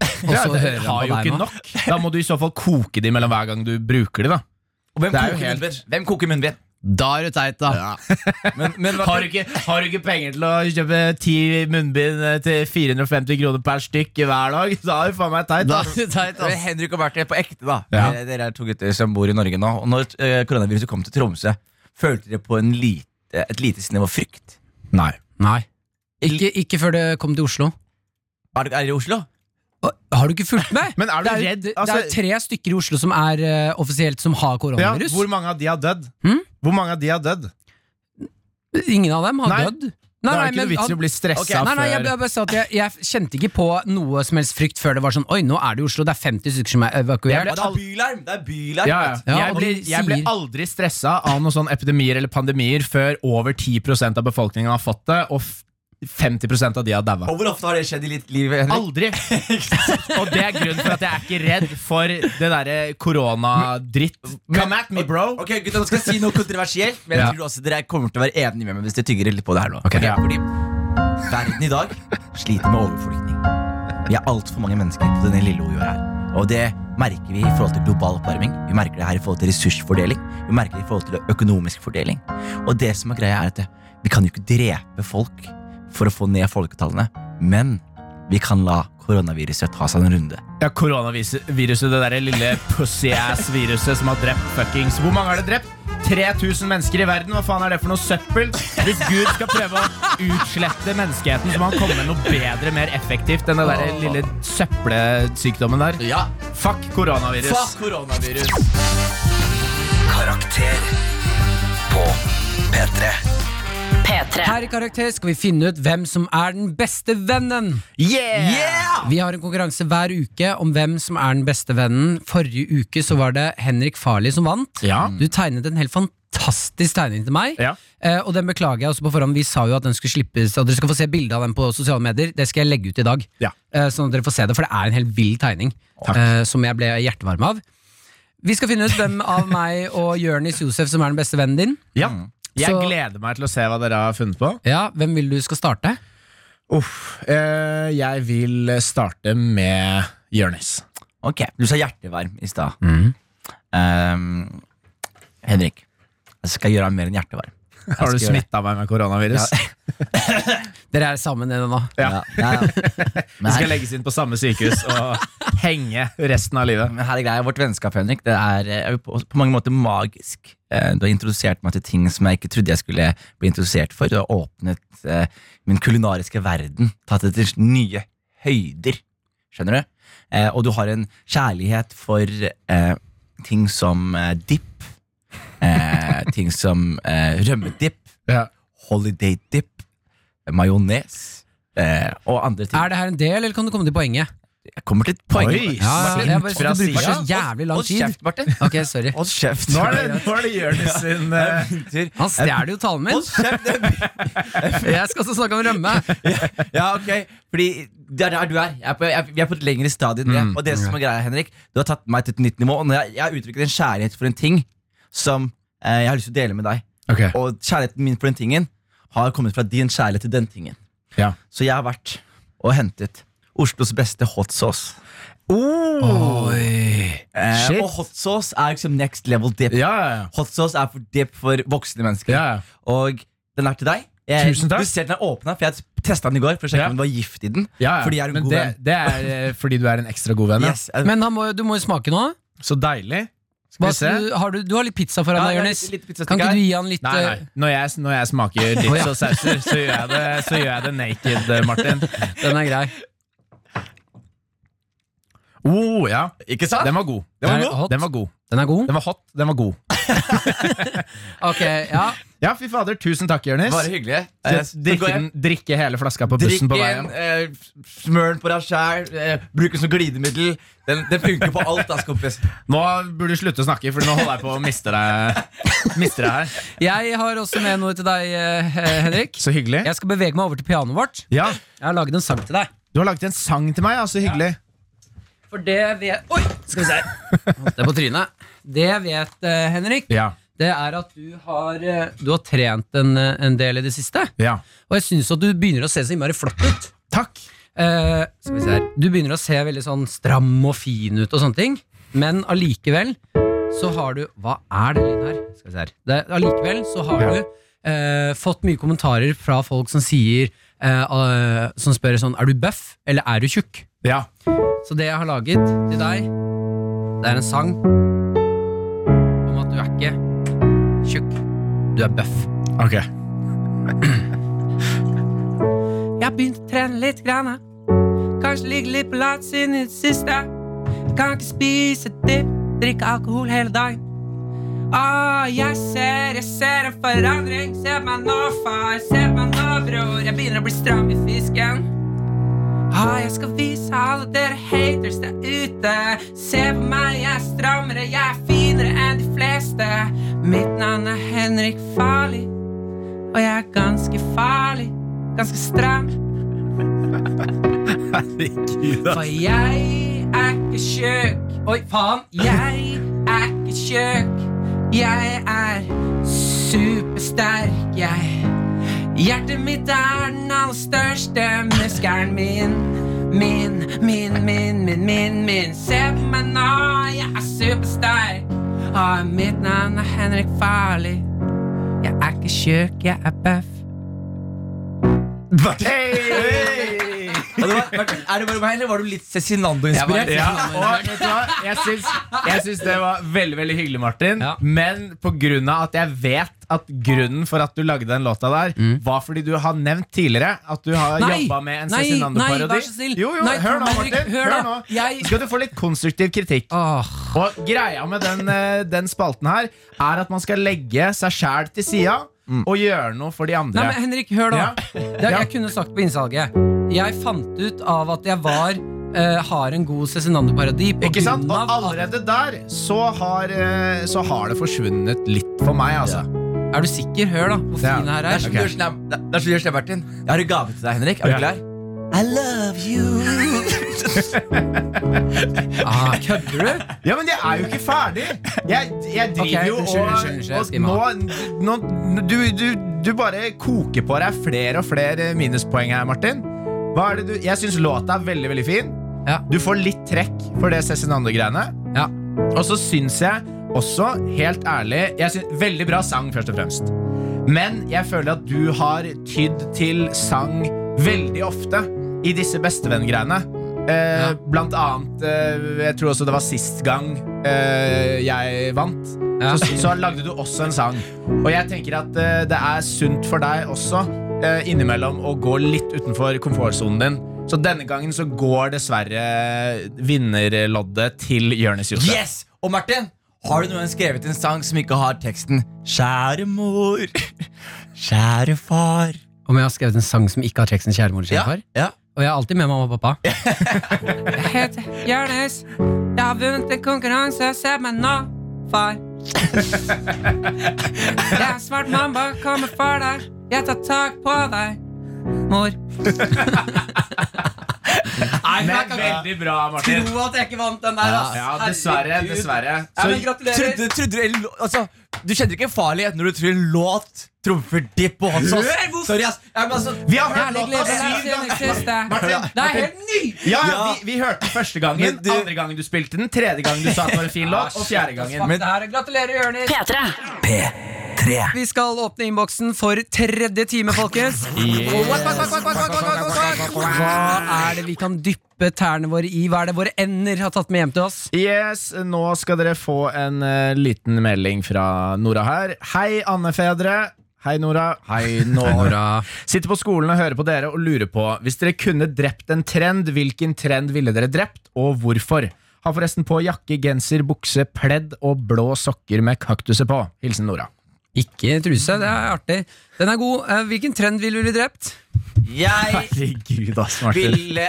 B: Og
C: Ja,
B: så
C: det
B: hører
C: har
B: han
C: jo
B: på
C: ikke
B: deg nå.
C: nok. Da må du i så fall koke de mellom hver gang du bruker de, da.
E: Og hvem
C: Det er jo
E: koker
C: helt-
E: munnbind? Hvem koker munnbind?
B: Da er du teit, da.
E: Men, men hva-
C: Har du, ikke, har du ikke penger til å kjøpe ti munnbind eh, til 450 kroner per stykk hver dag, [LAUGHS] da er du faen meg teit. altså.
B: Da er
C: ass.
B: du teit,
E: Men
B: ass.
E: Henrik og Bertil er på ekte, da.
C: Ja.
E: Dere, dere er to gutter som bor i Norge nå. Og når eh, koronaviruset kom til Tromsø, følte dere på en lite, et lite snev av frykt?
C: Nei.
B: Nei. Ikke, ikke før det kom til Oslo.
E: Er, er dere i Oslo?
B: Å, Har du ikke fulgt med?
C: [LAUGHS] Men er du
B: det er, jo-
C: redd?
B: det-
C: Altså-
B: det er jo tre stykker i Oslo som er eh, offisielt som har
C: Ja,
B: koronavirus.
C: hvor mange av de har dødd?
B: Hm?
C: Hvor mange av de har dødd?
B: Ingen av dem har
C: Nei.
B: dødd.
C: det er jo ikke noe
B: men
C: vits i
B: han-
C: å bli stressa
B: Ok, nei, nei, jeg,
C: før.
B: jeg, bare sa at jeg, jeg kjente ikke på noe som helst frykt før det var sånn Oi, nå er det Oslo, det er 50 stykker som er
C: Jeg
B: evakuert.
C: ble-
E: Det er bylarm! Det er bylarm.
C: Ja, ja.
B: Ja,
C: jeg,
B: og
C: ble,
B: de
C: jeg ble
B: sier-
C: aldri stressa av noen sånn epidemier eller pandemier før over 10 av befolkningen har fått det, og f- 50 av de har daua.
E: Og hvor ofte har det skjedd i ditt liv? Henrik?
B: [LAUGHS]
C: Aldri! og det er grunnen for at jeg er ikke redd for det derre koronadritt. Come at me, bro!
E: Ok, gutta, Nå skal jeg si noe kontroversielt, men jeg
C: Ja.
E: tror også dere kommer til å være enige med meg hvis dere tygger litt på det her nå.
C: Ok.
E: Ok, Fordi verden i dag sliter med overbefolkning. Vi er altfor mange mennesker på denne lille jorda her. Og det merker vi i forhold til global oppvarming, vi merker det her i forhold til ressursfordeling, vi merker det i forhold til økonomisk fordeling. Og det som er greia, er at det- vi kan jo ikke drepe folk for å få ned folketallene, men vi kan la koronaviruset ta seg en runde.
C: Ja, Koronaviruset, det derre lille pussy-ass-viruset som har drept fuckings Hvor mange har det drept? 3000 mennesker i verden? Hva faen er det for noe søppel? Hvis Gud skal prøve å utslette menneskeheten, så må han komme med noe bedre, mer effektivt enn den derre lille søppelsykdommen der.
E: Ja,
C: Fuck koronavirus.
E: koronavirus!
D: Karakter på P3.
A: P3.
B: Her i Karakter skal vi finne ut hvem som er den beste vennen.
C: Yeah!
B: Vi har en konkurranse hver uke om hvem som er den beste vennen. Forrige uke så var det Henrik Farley som vant.
C: Ja.
B: Du tegnet en helt fantastisk tegning til meg.
C: Ja.
B: Eh, og den beklager jeg også på forhånd. Vi sa jo at den skulle slippes, og dere skal få se bilde av den på sosiale medier. Det skal jeg legge ut i dag.
C: Ja.
B: Eh, sånn at dere får se det, for det er en helt vill tegning eh, som jeg ble hjertevarm av. Vi skal finne ut hvem av meg og Jørnis Josef som er den beste vennen din.
C: Ja. Jeg
B: Så-
C: gleder meg til å se hva dere har funnet på.
B: Ja, Hvem vil du skal starte?
C: Uff, eh, jeg vil starte med Jonis.
E: Ok, du sa hjertevarm i stad.
C: Mm.
E: Ehm, Henrik, jeg skal gjøre han mer enn
C: [LAUGHS]
E: hjertevarm. Jeg
C: Har du
E: skal gjøre det.
C: smitta meg med koronavirus?
B: Dere er sammen dere nå.
E: Ja, ja, ja.
C: [LAUGHS] Du
E: Men,
C: skal
E: her,
C: legges inn på samme sykehus og henge resten av livet.
E: men her er greia, vårt vennskap, Henrik, det er eh, på, på mange måter magisk. Eh, Du har introdusert meg til ting som jeg ikke trodde jeg skulle bli introdusert for. Du har åpnet eh, min kulinariske verden, tatt det til nye høyder. Skjønner du? Eh, og du har en kjærlighet for eh, ting som eh, dipp.
B: [LAUGHS]
E: Eh, ting som eh, rømmedipp.
C: Ja.
E: holiday dip, majones eh, og andre ting.
B: Er det her en del, eller kan du komme til poenget?
E: Jeg kommer til et poeng.
C: Oi,
B: Ja, ja,
E: Martin.
B: ja, jeg bare
C: fra
B: synes du bruker så
C: siden.
B: jævlig lang
E: Hold
B: tid.
E: kjeft, Martin.
B: Ok, sorry.
E: [LAUGHS] Hold kjeft.
C: Nå er det, nå er det Jonis sin eh,
B: Han stjeler jo talen min.
E: Hold kjeft. det-
B: Jeg skal også snakke om rømme.
E: [LAUGHS] Ja, ok. Fordi det er der du er. Jeg er på, jeg, vi er på et lengre stadie enn det.
C: Mm,
E: Og det som er greia, Henrik, du har tatt meg til et nytt nivå. Og når jeg, jeg har uttrykt en kjærlighet for en ting som eh, jeg har lyst til å dele med deg. Og kjærligheten min for den tingen har kommet fra din kjærlighet til den tingen.
C: Ja.
E: Så jeg har vært og hentet Oslos beste hot sauce. Eh,
C: Oh, Shit.
E: og hot sauce er liksom next level dip.
C: Ja, ja,
E: Hot sauce er for dip for voksne mennesker.
C: ja.
E: Og den er til deg. Jeg,
C: Tusen takk.
E: Du ser den er åpna, for jeg testa den i går for å sjekke
C: Ja.
E: om det var gift i den.
C: ja, ja.
E: Fordi jeg er en
C: Men
E: god
C: det,
E: venn.
C: det er eh, fordi du er en ekstra god venn. ja.
E: Yes, jeg-
B: Men han må, du må jo smake nå.
C: Så deilig. Skal
B: Hva,
C: vi se.
B: du, har du, du har litt pizza foran
E: Ja,
B: deg,
E: jeg har
B: Jonis.
E: litt- litt pizzastykke
B: Kan ikke
E: her.
B: du gi han litt
C: Nei, nei.
B: eh,
C: Når jeg, når jeg smaker dips
B: ja.
C: og sauser, så gjør jeg det, så gjør jeg det naked, eh, Martin.
B: Den er grei.
C: Oh, ja.
E: Ikke sant?
C: Den var god. Den
B: Er det
C: var
B: hot?
C: god. Den var god.
B: Den er god.
C: Den var hot. Den var god.
B: Ok, ja
C: Ja, fy fader. Tusen takk, Jonis.
E: Bare hyggelig. Eh,
C: Eh,
E: så
C: Drikke,
E: går jeg-
C: den- drikke hele flaska på
E: Drikk
C: bussen på veien.
E: den, eh, smør den på deg sjæl, eh, bruk den som glidemiddel. Den, den funker på alt, ass, kompis.
C: Nå burde du slutte å snakke, for nå holder jeg på å miste deg Miste deg her.
B: Jeg har også med noe til deg, eh, Henrik.
C: Så hyggelig.
B: Jeg skal bevege meg over til pianoet vårt.
C: Ja,
B: Jeg har laget en sang til deg.
C: Du har laget en sang til meg, ja, så hyggelig.
B: For det vet Oi! Skal vi se. Det er på trynet. Det vet eh, Henrik.
C: Ja,
B: Det er at du har, eh, du har trent en, eh, en del i det siste.
C: ja.
B: Og jeg syns at du begynner å se så innmari flott ut.
C: Takk.
B: Eh, skal vi se her Du begynner å se veldig sånn stram og fin ut og sånne ting, men allikevel så har du Hva er den lyden her? Skal vi se her. Det, allikevel så har
C: Ja.
B: du eh, fått mye kommentarer fra folk som sier eh, eh, Som spør sånn Er du bøff, eller er du tjukk?
C: Ja.
B: Så det jeg har laget til deg, det er en sang om at du er ikke tjukk, du er bøff.
C: Ok.
B: Jeg har begynt å trene litt grann eh. Kanskje ligge litt på lat siden i det siste Kan ikke spise dipp Drikke alkohol hele dagen Åh, jeg ser, jeg ser en forandring Se på meg nå, far, se på meg nå, bror Jeg begynner å bli stram i fisken Åh, jeg skal vise alle dere haters der ute Se på meg, jeg er strammere, jeg er finere enn de fleste Mitt navn er Henrik Farlig Og jeg er ganske farlig Ganske stram For jeg er ikke tjukk Oi, faen. Jeg er ikke tjukk. Jeg er supersterk, jeg. Hjertet mitt er den aller største muskelen min. Min, min, min, min, min, min. Se på meg nå, jeg er supersterk. Og mitt navn er Henrik Farley. Jeg er ikke tjukk, jeg er bøff.
E: Ja, det var, er det bare meg, eller var du litt
B: Jeg var
E: Cezinando-inspirert?
B: litt-
C: Ja, og vet du hva? Jeg syns, jeg syns det var veldig veldig hyggelig, Martin.
B: Ja.
C: Men på grunn av at jeg vet at grunnen for at du lagde den låta der, var fordi du har nevnt tidligere at du har
B: Mm. Nei,
C: jobba med en
B: nei,
C: Cezinando-parodi.
B: nei, vær så snill.
C: Jo, jo,
B: Nei,
C: hør nå,
B: Henrik,
C: Martin.
B: hør
C: Hør
B: da.
C: nå.
B: Jeg-
C: Skal du få litt konstruktiv kritikk.
B: Åh.
C: Og greia med den, eh, den spalten her er at man skal legge seg sjæl til sida
B: Mm.
C: og gjøre noe for de andre.
B: Nei, men Henrik, hør da.
C: Ja.
B: Det, jeg kunne sagt på innsalget Jeg fant ut av at jeg var eh, har en god Cezinando-parodi på
C: ikke sant?
B: grunn
C: Og
B: av
C: allerede der så har, eh, så har det forsvunnet litt for meg, altså.
B: at- Er du sikker? Hør, da, hvor
C: Ja.
B: fin det her
E: Det er
B: er.
C: Ok.
E: som du gjør slem, det er- det er som du gjør slem, Martin. Jeg har en gave til deg, Henrik. Er du
C: Ja.
E: klar? I love you.
B: Ah, kødder du?
C: Ja, men jeg er jo ikke ferdig! Jeg, jeg driver
B: Ok,
C: jo
B: unnskyld, unnskyld, unnskyld, jeg skal
C: og, og nå, nå du, du, du bare koker på deg flere og flere minuspoeng her, Martin. Hva er det du, jeg syns låta er veldig veldig fin.
B: Ja.
C: Du får litt trekk for det Cezinando-greiene.
B: Ja.
C: Og så syns jeg også, helt ærlig jeg syns- Veldig bra sang, først og fremst. Men jeg føler at du har tydd til sang veldig ofte i disse bestevenngreiene. Eh,
B: Ja.
C: Blant annet eh, Jeg tror også det var sist gang eh, jeg vant.
B: Ja.
C: Så, så lagde du også en sang. Og jeg tenker at eh, det er sunt for deg også eh, innimellom å gå litt utenfor komfortsonen din. Så denne gangen så går dessverre vinnerloddet til Jonis Josef.
E: Yes! Og Martin, har du noen gang skrevet en sang som ikke har teksten Kjære mor, kjære far?
B: Om jeg har skrevet en sang som ikke har teksten 'Kjære mor, kjære far'?
E: ja.
B: Og jeg er alltid med mamma og pappa. jeg heter Jonis. Jeg har vunnet en konkurranse. Se meg nå, far.
C: [LAUGHS]
B: Jeg er svart mamba, kommer for deg. Jeg tar tak på deg, mor.
C: Nei, men
E: eh,
C: veldig bra, Martin.
B: Tro at jeg ikke vant den der, ass.
C: Ja, dessverre.
B: Herregud.
C: dessverre
B: Ja, men
C: så,
B: gratulerer.
E: Trodde, trodde du, en lå- altså, du kjenner ikke farlighet når du tror en låt trumfer dipp og hot sauce.
B: Hør hvor-
E: Sorry, ass. Ja, men altså,
C: Vi har hørt
B: Herlig
C: låta
B: glede
C: syv
B: siden
C: ganger.
B: jeg siste.
C: Martin,
B: Det er helt ny!
C: Ja,
E: Ja.
C: Vi, vi hørte den første gangen,
E: Men du-
C: andre gangen du spilte den, tredje gangen du sa at det var en fin låt, og fjerde gangen.
B: Fuck det her. Gratulerer, Jonis.
A: P3.
D: P3
B: Vi skal åpne innboksen for tredje time, folkens. Hva er det vi kan dyppe tærne våre i? Hva er det våre ender har tatt med hjem til oss?
C: Yes, Nå skal dere få en eh, liten melding fra Nora her. Hei, Anne-fedre. Hei, Nora. Hei, [LAUGHS] Sitter på skolen og hører på dere og lurer på Hvis dere kunne drept en trend, hvilken trend ville dere drept, og hvorfor? Har forresten på jakke, genser, bukse, pledd og blå sokker med kaktuser på. Hilsen Nora.
B: Ikke truse, det er artig. Den er god. Eh, Hvilken trend ville du drept?
E: jeg
C: Herregud, ass,
E: ville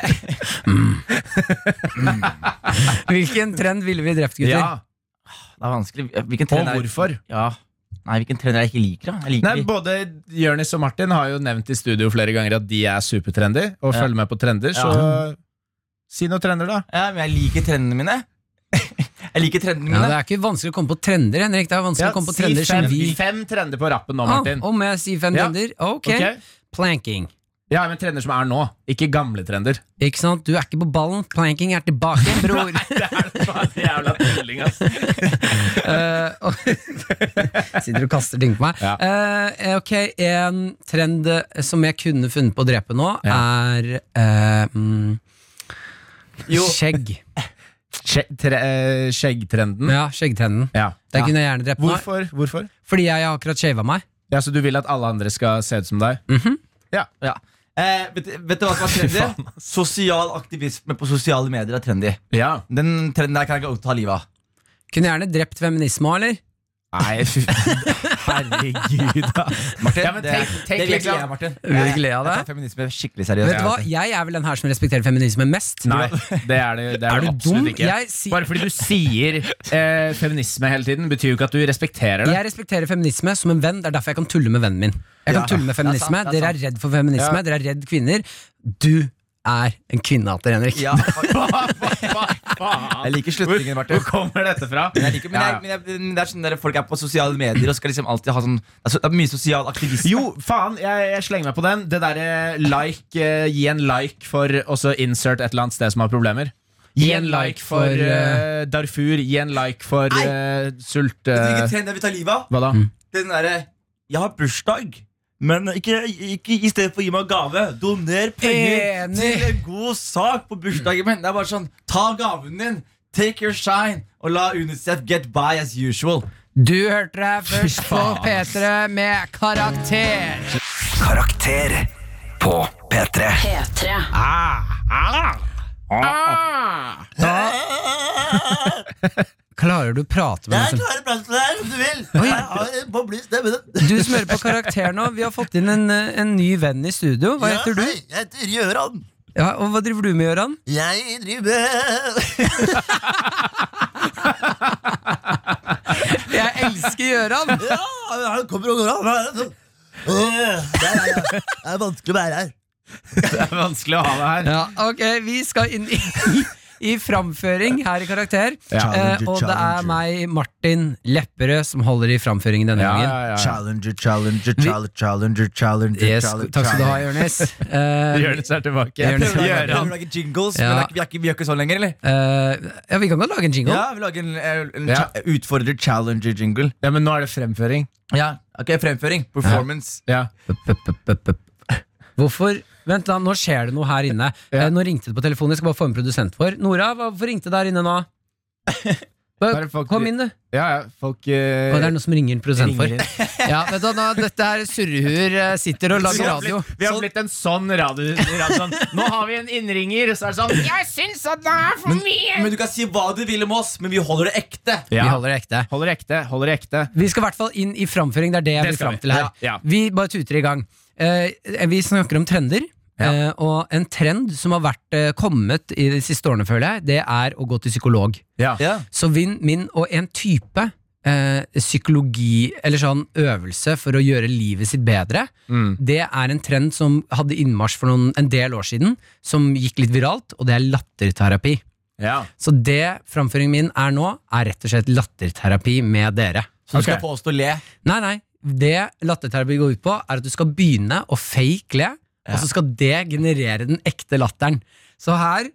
B: Mm. Hvilken trend ville vi drept, gutter?
C: Ja,
E: Det er vanskelig. Hvilken
C: og
E: trener
C: hvorfor?
E: Ja. Nei, hvilken trener jeg ikke liker, da? Jeg liker
C: Nei, både Jørnis og Martin har jo nevnt i studio flere ganger at de er supertrendy og
E: Ja.
C: følger med på trender, så si noen trender, da.
E: ja, men jeg liker trendene mine. [LAUGHS] jeg liker
B: Ja,
E: trendene mine.
B: det er ikke vanskelig å komme på trender, Henrik. Det er vanskelig å komme på trender som
C: fem,
B: vi
C: fem trender på rappen nå,
B: Ah,
C: Martin.
B: Om jeg sier fem
C: Ja.
B: trender? Ok.
C: Ok?
B: Planking.
C: Ja, men trender som er nå, ikke gamle trender.
B: Ikke sant? Du er ikke på ballen. Planking er tilbake,
C: [LAUGHS]
B: bror.
C: Det er det bare en jævla tulling, ass.
B: Eh, og- Sitter og kaster ting på meg.
C: Ja.
B: Eh, ok, En trend eh, som jeg kunne funnet på å drepe nå, er eh, mm,
E: Jo.
B: skjegg.
C: Skje, tre, eh, skjeggtrenden.
B: Ja, skjeggtrenden.
C: Ja.
B: Det kunne jeg gjerne drept nå.
C: Hvorfor? Hvorfor?
B: Fordi jeg har akkurat shava meg.
C: Ja, Så du vil at alle andre skal se ut som deg?
E: Ja. Eh, vet, vet du hva som er [LAUGHS] trendy? Sosial aktivisme på sosiale medier er trendy.
C: Ja.
E: Den trenden der kan jeg ikke ta livet av.
B: Kunne gjerne drept feminisme òg, eller?
C: Nei, fy- herregud, ass.
E: Martin,
C: Ja, men tenk-
E: det,
C: tenk
E: det vil ikke
C: liksom-
E: jeg, Martin.
B: Vil du ikke le av
E: Jeg
B: det?
E: tar feminisme skikkelig seriøst.
B: Vet du hva? Jeg er vel den her som respekterer feminisme mest.
C: Nei, [LAUGHS] det er det, det er
B: Er
C: det
B: du
C: absolutt
B: dum?
C: ikke.
B: Jeg si-
C: Bare fordi du sier eh, feminisme hele tiden, betyr jo ikke at du respekterer det.
B: Jeg respekterer feminisme som en venn. Det er derfor jeg kan tulle med vennen min. Jeg kan
E: Ja.
B: tulle med
E: Det er sant,
B: feminisme
E: det er
B: Dere er
E: sant.
B: redd for feminisme,
C: Ja.
B: dere er redd kvinner. Du er en kvinnehater, Henrik.
E: [LAUGHS] Ja, jeg
C: Hva, hva, faen?
E: liker slutningen, Martin.
C: Hvor kommer dette fra?
E: Men, jeg liker, men, jeg, men jeg, men det er sånn der folk er på sosiale medier og skal liksom alltid ha sånn Det er, så, det er mye sosial aktivisme.
C: Jo, faen, jeg, jeg slenger meg på den. Det derre like, eh, gi en like for og så insert et eller annet sted som har problemer. Gi en like for eh, Darfur, gi en like for eh, sult...
E: Vet du
C: eh,
E: hvilken trend jeg vil ta livet av?
C: hva da?
E: Den derre Jeg har bursdag, men ikke, ikke i stedet for å gi meg gave. Doner penger
B: Enig.
E: til en god sak på bursdagen min. Det er bare sånn Ta gaven din, take your shine, og la Unicef get by as usual.
B: Du hørte det her først på P3 med karakter.
D: Karakter på P3.
A: P3.
B: Klarer du å prate med noen som-
E: klarer plass til deg om du vil. Jeg har en boblestemme.
B: Du smører på karakter nå. Vi har fått inn en, eh, en ny venn i studio. Hva heter du?
E: Jeg heter Gjøran.
B: Ja, og hva driver du med, Gøran?
E: Jeg driver
B: Jeg elsker Gøran!
E: Ja, han kommer og går av. Det er vanskelig å være her.
C: Det er vanskelig å ha det her.
B: Ja, ok, vi skal inn i, i framføring her i Karakter.
C: Challenger,
B: eh, og det er meg, Martin Lepperød, som holder i framføringen denne
C: Ja,
B: gangen.
C: ja, ja.
E: Challenger, challenger, challenger, challenger, challenger,
B: Yes, takk skal du ha,
C: [LAUGHS]
B: Jonis. Eh,
C: Jonis er tilbake.
B: Jonis er tilbake.
E: Gjøran.
C: Gjøran.
E: Vi lager jingles,
B: Ja.
E: men det er ikke- vi er ikke- vi gjør ikke sånn lenger, eller?
B: eh, ja, vi kan godt lage en jingle.
E: Ja, vi lager en, eh, en
C: Ja.
E: cha- utfordrer challenger-jingle.
C: Ja, men nå er det fremføring.
E: Ja, ok, Fremføring. Performance.
C: Ja.
B: Pup, pup, pup, pup. Hvorfor Vent, da, nå skjer det noe her inne. Eh, nå ringte det på telefonen. Jeg skal bare få en produsent for. Nora, hva- hvorfor ringte det der inne
C: [LAUGHS]
B: nå?
C: er
B: Bare,
C: det folk-
B: kom inn, du.
C: Ja, ja, folk
B: Å, det
C: eh,
B: er noe som ringer en produsent for.
C: ringer
B: [LAUGHS] Ja, vet du, hva, nå, dette her surrehuer eh, sitter og lager
C: har
B: radio.
C: blitt- vi har blitt en sånn radio. radio sånn. Nå har vi en innringer, så er det sånn Jeg syns at det er for mye!
E: Men du kan si hva du vil om oss, men vi holder det ekte.
C: Ja.
B: Vi holder det ekte.
C: Holder ekte, holder ekte.
B: Vi skal i hvert fall inn i framføring. Det er det jeg
C: Det
B: vil
C: skal
B: fram
C: vi.
B: til her.
C: Ja, ja.
B: Vi bare tuter i gang. Eh, vi snakker om trender.
C: Ja.
B: eh, og en trend som har vært, eh, kommet i de siste årene, føler jeg, det er å gå til psykolog.
C: Ja.
E: Ja.
B: Så vinn min og en type eh, psykologi, eller sånn øvelse for å gjøre livet sitt bedre,
C: Mm.
B: det er en trend som hadde innmarsj for noen, en del år siden, som gikk litt viralt, og det er latterterapi.
C: ja.
B: Så det framføringen min er nå, er rett og slett latterterapi med dere.
E: Så du skal
C: Ok.
E: få oss til å le.
B: Nei, nei. Det latterterapi går ut på, er at du skal begynne å fake le, og så skal det generere den ekte latteren. Så her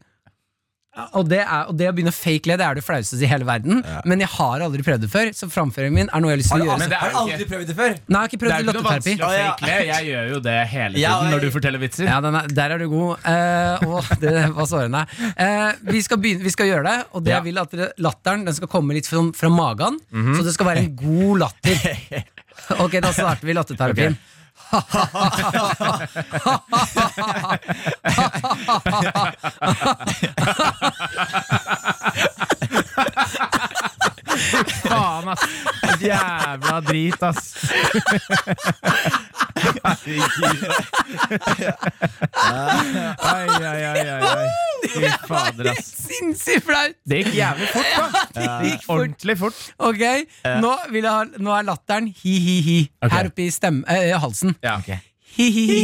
B: og det, er, og det å begynne å fake le, det er det flaueste i hele verden. Men jeg har aldri prøvd det før, så framføringen min er noe jeg har lyst til å gjøre.
C: men
B: Så.
C: det
E: Har
C: er
E: du
C: jo ikke,
E: aldri prøvd det før?
B: Nei, jeg har ikke
C: det er
B: prøvd
C: ikke noe
B: latterterapi.
C: vanskelig å
E: Ja, ja.
C: fake le. Jeg gjør jo det hele tiden
E: Ja, og-
C: når du forteller vitser.
B: Ja, den er, der er du god. Eh, og [LAUGHS] det var sårende. Eh, vi, skal begynne, vi skal gjøre det, og det
C: Ja. Mhm.
B: jeg vil at dere- latteren den skal komme litt fra, fra magen. Så det skal være en god latter.
C: [LAUGHS]
B: Ok, da starter vi latterterapien.
C: Faen, ass! Jævla drit, ass. Herregud. Ai, ai, ai, ai, ai. Fy fader, ass.
B: Sinnssykt flaut!
C: Det gikk jævlig fort, da.
B: Det gikk fort.
C: Ordentlig fort.
B: Ok, nå, vil jeg ha, nå er latteren hi-hi-hi
C: Ok.
B: her oppe i stemme, eh, halsen.
C: Ja.
B: Hi-hi-hi.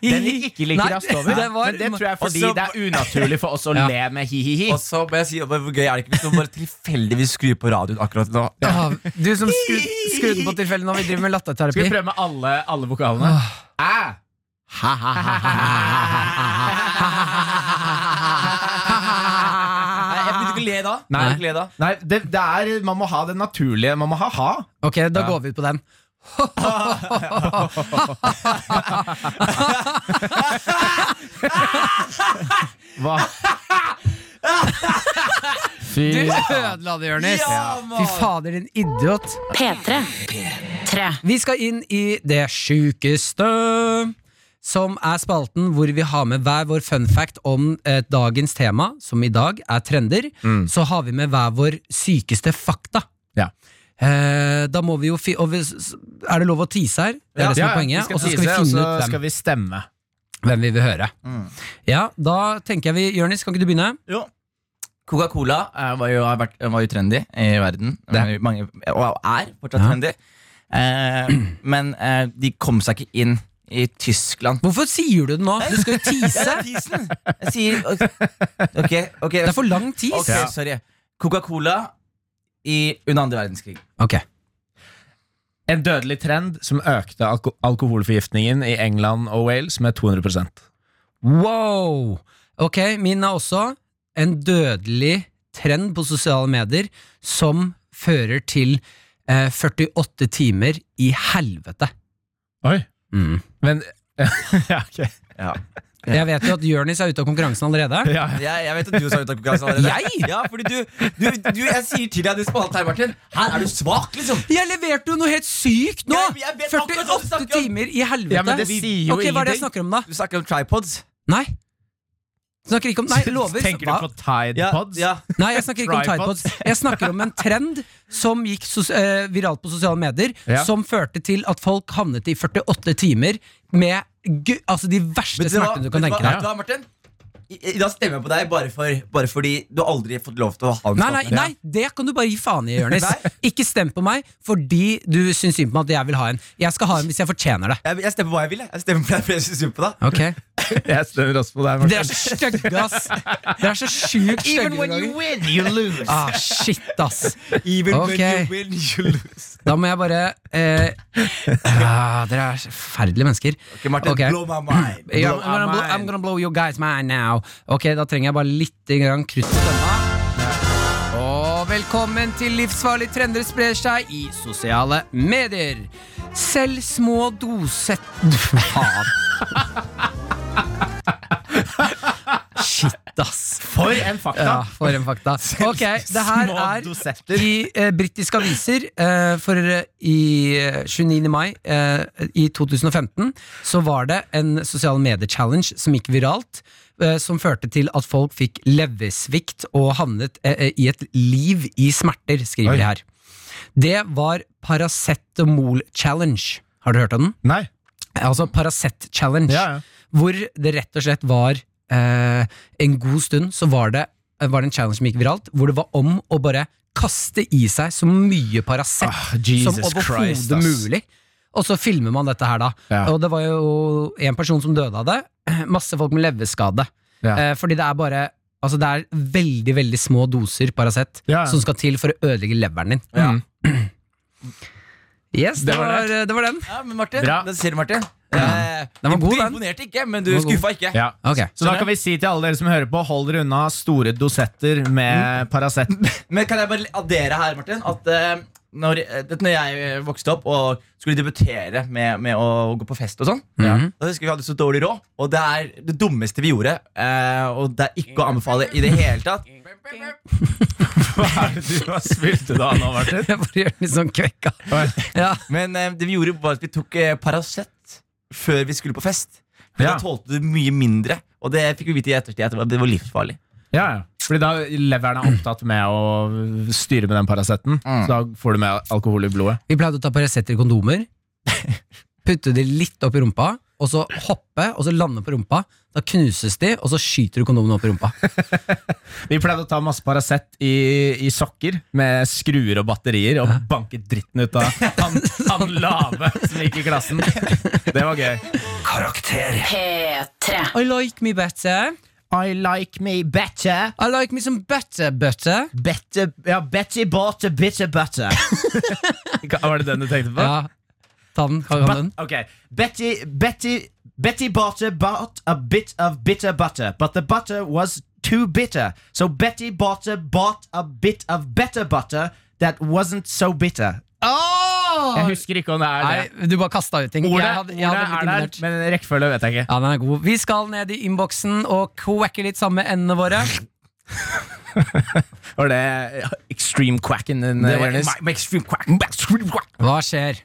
C: Den vi ikke liker å stå
B: det
C: ved.
B: var-
C: Men det tror jeg er fordi
E: Også-
C: det er unaturlig for [LAUGHS] oss å
B: Ja.
C: le med hi-hi-hi.
E: Og så må jeg si, hvor gøy er det ikke hvis noen bare tilfeldigvis skrur på radioen akkurat
B: [LAUGHS]
E: nå?
B: Ah, Du som skrudde skrud den på tilfeldig når vi driver med
C: Skal vi Ah.
B: latterterapi.
C: prøve med alle, alle vokalene? Æ. [LAUGHS]
E: Nei, jeg begynte ikke å le da.
B: Nei.
E: Jeg begynte ikke å le da.
C: Nei, det, det er, man må ha det naturlige. Man må ha ha.
B: Ok, da går vi ut på den.
C: [LAUGHS] Hva? Fy
B: Du ødela det, Jonis. Fy fader, din idiot.
A: P3. P3.
B: Vi skal inn i Det sjukeste, som er spalten hvor vi har med hver vår fun fact om eh, dagens tema, som i dag er trender. Så har vi med hver vår sykeste fakta.
C: Mm. Ja.
B: Eh, da må vi jo fi og vi, s- Er det lov å tease her? Det er det som er
C: vi
B: poenget. Og så skal vi
C: tease, og
B: finne
C: så
B: ut hvem,
C: skal vi Mm. stemme.
B: hvem vi vil høre. Ja, da tenker jeg vi Jonis, kan ikke du begynne?
E: Coca-Cola eh, var, jo- har vært- var jo trendy i verden,
B: Det.
E: mange, og er fortsatt
B: Ja.
E: trendy. Eh, men eh, de kom seg ikke inn i Tyskland.
B: Hvorfor sier du det nå? Du skal jo
C: [LAUGHS]
B: tease!
E: Tisen! Jeg sier Ok, ok,
B: Det er for lang
E: ok,
B: tease.
E: sorry. Coca-Cola i, under andre verdenskrig.
B: Ok,
C: En dødelig trend som økte alko alkoholforgiftningen i England og Wales med 200
B: Wow! Ok, min er også en dødelig trend på sosiale medier som fører til eh, 48 timer i helvete.
C: Oi, men [LAUGHS] Ja, ok.
E: Ja.
B: Jeg vet jo at Jonis er ute av konkurransen allerede.
C: Ja.
E: Jeg, jeg vet at du sa ut av konkurransen allerede.
B: Jeg?
E: Ja, fordi du, du, du Jeg sier til deg at du spalte her, Martin. Her er du svak, liksom.
B: Jeg leverte jo noe helt sykt nå!
E: Jeg- jeg vet akkurat hva du
B: 48
E: snakker om.
B: timer i helvete.
C: Ja, men det sier jo
B: ok, Hva er det jeg
C: ingenting.
B: snakker om, da?
E: Du snakker om tripods.
B: Nei. Snakker ikke om
C: [LAUGHS]
B: Nei, lover.
C: Tenker du
B: Hva?
C: på Tide Pods?
E: ja.
B: Nei, jeg snakker ikke om
C: Tripods.
B: Tidepods. Jeg snakker om en trend som gikk sos eh, viralt på sosiale medier,
C: Ja.
B: som førte til at folk havnet i 48 timer med gu- altså de verste
E: Vet du hva-
B: smertene du kan
E: vet
B: tenke
E: hva-
B: deg.
E: vet du hva, Martin? I, i dag stemmer jeg på deg bare, for, bare fordi du aldri har fått lov til å ha en
B: Nei, nei,
E: spalte.
B: nei, det kan du bare gi faen i, Jonis. Ikke stem på meg fordi du syns synd på meg at jeg vil ha en. Jeg skal ha en hvis jeg fortjener det.
E: Jeg, jeg stemmer på hva jeg vil. jeg. Jeg stemmer på deg fordi jeg syns synd på deg.
B: Ok
C: [LAUGHS] Jeg stemmer også på deg,
B: Dere er så stygge, ass! Dere er så sjukt stygge. noen ganger.
C: win, you lose.
B: Ah, shit, ass.
E: Even
B: when Ok. you
E: win, you lose.
B: Da må jeg bare eh, ah, Dere er så forferdelige mennesker.
E: Ok, Martin,
B: Ok.
E: blow my
B: [CLEARS THROAT]
E: mind.
B: Yeah, I'm,
C: Blow
B: gonna
C: our
B: blow,
C: mind.
B: I'm gonna blow you guys mind now. Ok, da trenger jeg bare litt grann krutt i stemma. Og velkommen til Livsfarlige trender sprer seg i sosiale medier. Selv små doset...
C: [LAUGHS]
B: Faen. Shit, ass.
C: For en fakta!
B: Ja, for en
C: [LAUGHS]
B: fakta. Ok, det her
C: små
B: er
C: dosetter.
B: i eh, britiske aviser eh, for eh, i eh, 29. mai eh, i 2015 så var det en sosiale medier-challenge som gikk viralt, eh, som førte til at folk fikk leversvikt og havnet eh, eh, i et liv i smerter, skriver de her. Det var Paracetamol Challenge. Har du hørt om den?
C: Nei.
B: Altså Paracet Challenge,
C: Ja, ja.
B: hvor det rett og slett var eh, En god stund så var det, eh, var det en challenge som gikk viralt, hvor det var om å bare kaste i seg så mye Paracet
C: Ah,
B: som
C: Jesus Christ,
B: overhodet
C: ass.
B: mulig. Og så filmer man dette her, da.
C: Ja.
B: Og det var jo en person som døde av det. [CLEARS THROAT] Masse folk med leverskade.
C: Ja.
B: Eh, fordi det er bare Altså det er veldig veldig små doser Paracet
C: Ja, ja.
B: som skal til for å ødelegge leveren din.
C: Mm.
B: [CLEARS THROAT] Yes, det,
C: Det var
B: var, det var den.
E: Ja, men Martin,
C: Bra.
E: det ser du, Martin. Eh,
B: Den var god,
E: du
B: den.
E: imponerte ikke, men du
B: Den var god.
E: skuffa ikke.
C: Ja.
B: Ok.
C: Så da kan vi si til alle dere som hører på, hold dere unna store dosetter med
B: Mm. [LAUGHS]
C: Paracet.
E: Men kan jeg bare addere her, Martin, at eh, når, eh, det- når jeg vokste opp og skulle debutere med, med å gå på fest og sånn,
C: Mhm.
E: da husker jeg vi hadde så dårlig råd, og det er det dummeste vi gjorde, eh, og det er ikke å anbefale i det hele tatt.
C: Hva er det du har spilt da nå, Martin?
B: [LAUGHS] Jeg bare gjør den litt sånn kvekka. Ja.
E: Men eh, det vi gjorde var at vi tok eh, Paracet før vi skulle på fest. Men
C: Ja.
E: Da tålte du mye mindre, og det fikk vi vite i ettertid at det var, det var livsfarlig.
C: Ja, ja. Fordi da leveren er opptatt med å styre med den Paraceten.
B: Mm.
C: Så da får du med alkohol i blodet.
B: Vi pleide å ta Paracet i kondomer, putte det litt opp i rumpa, og så hoppe, og så lande på rumpa. Da knuses de, og så skyter du kondomene opp i rumpa.
C: Vi pleide å ta masse Paracet i, i sokker med skruer og batterier og banke dritten ut av han, han lave som gikk i klassen. Det var gøy.
D: Karakter
A: P3.
B: I like me better.
C: I like me better.
B: I like me some better, butter.
C: Better, ja, Betty Barter Bitter Butter. Var det den du tenkte på?
B: Ja, ta den. Kan du ha den?
C: But- okay. Betty Betty Betty Barter bought a bit of bitter butter, but the butter was too bitter. So Betty Barter bought a bit of better butter that wasn't so bitter. Jeg husker ikke om det er det.
B: Nei, du bare kasta ut ting.
C: Ordet,
B: Jeg hadde- jeg hadde blitt
C: ordet er der,
B: imponert.
C: men rekkefølge vet jeg ikke.
B: Ja, den er god. Vi skal ned i innboksen og kvekke litt sammen med endene våre.
C: Var det extreme quacken din,
E: Det var-
C: Jonis?
E: my- my extreme quack, my extreme quack.
B: Hva skjer?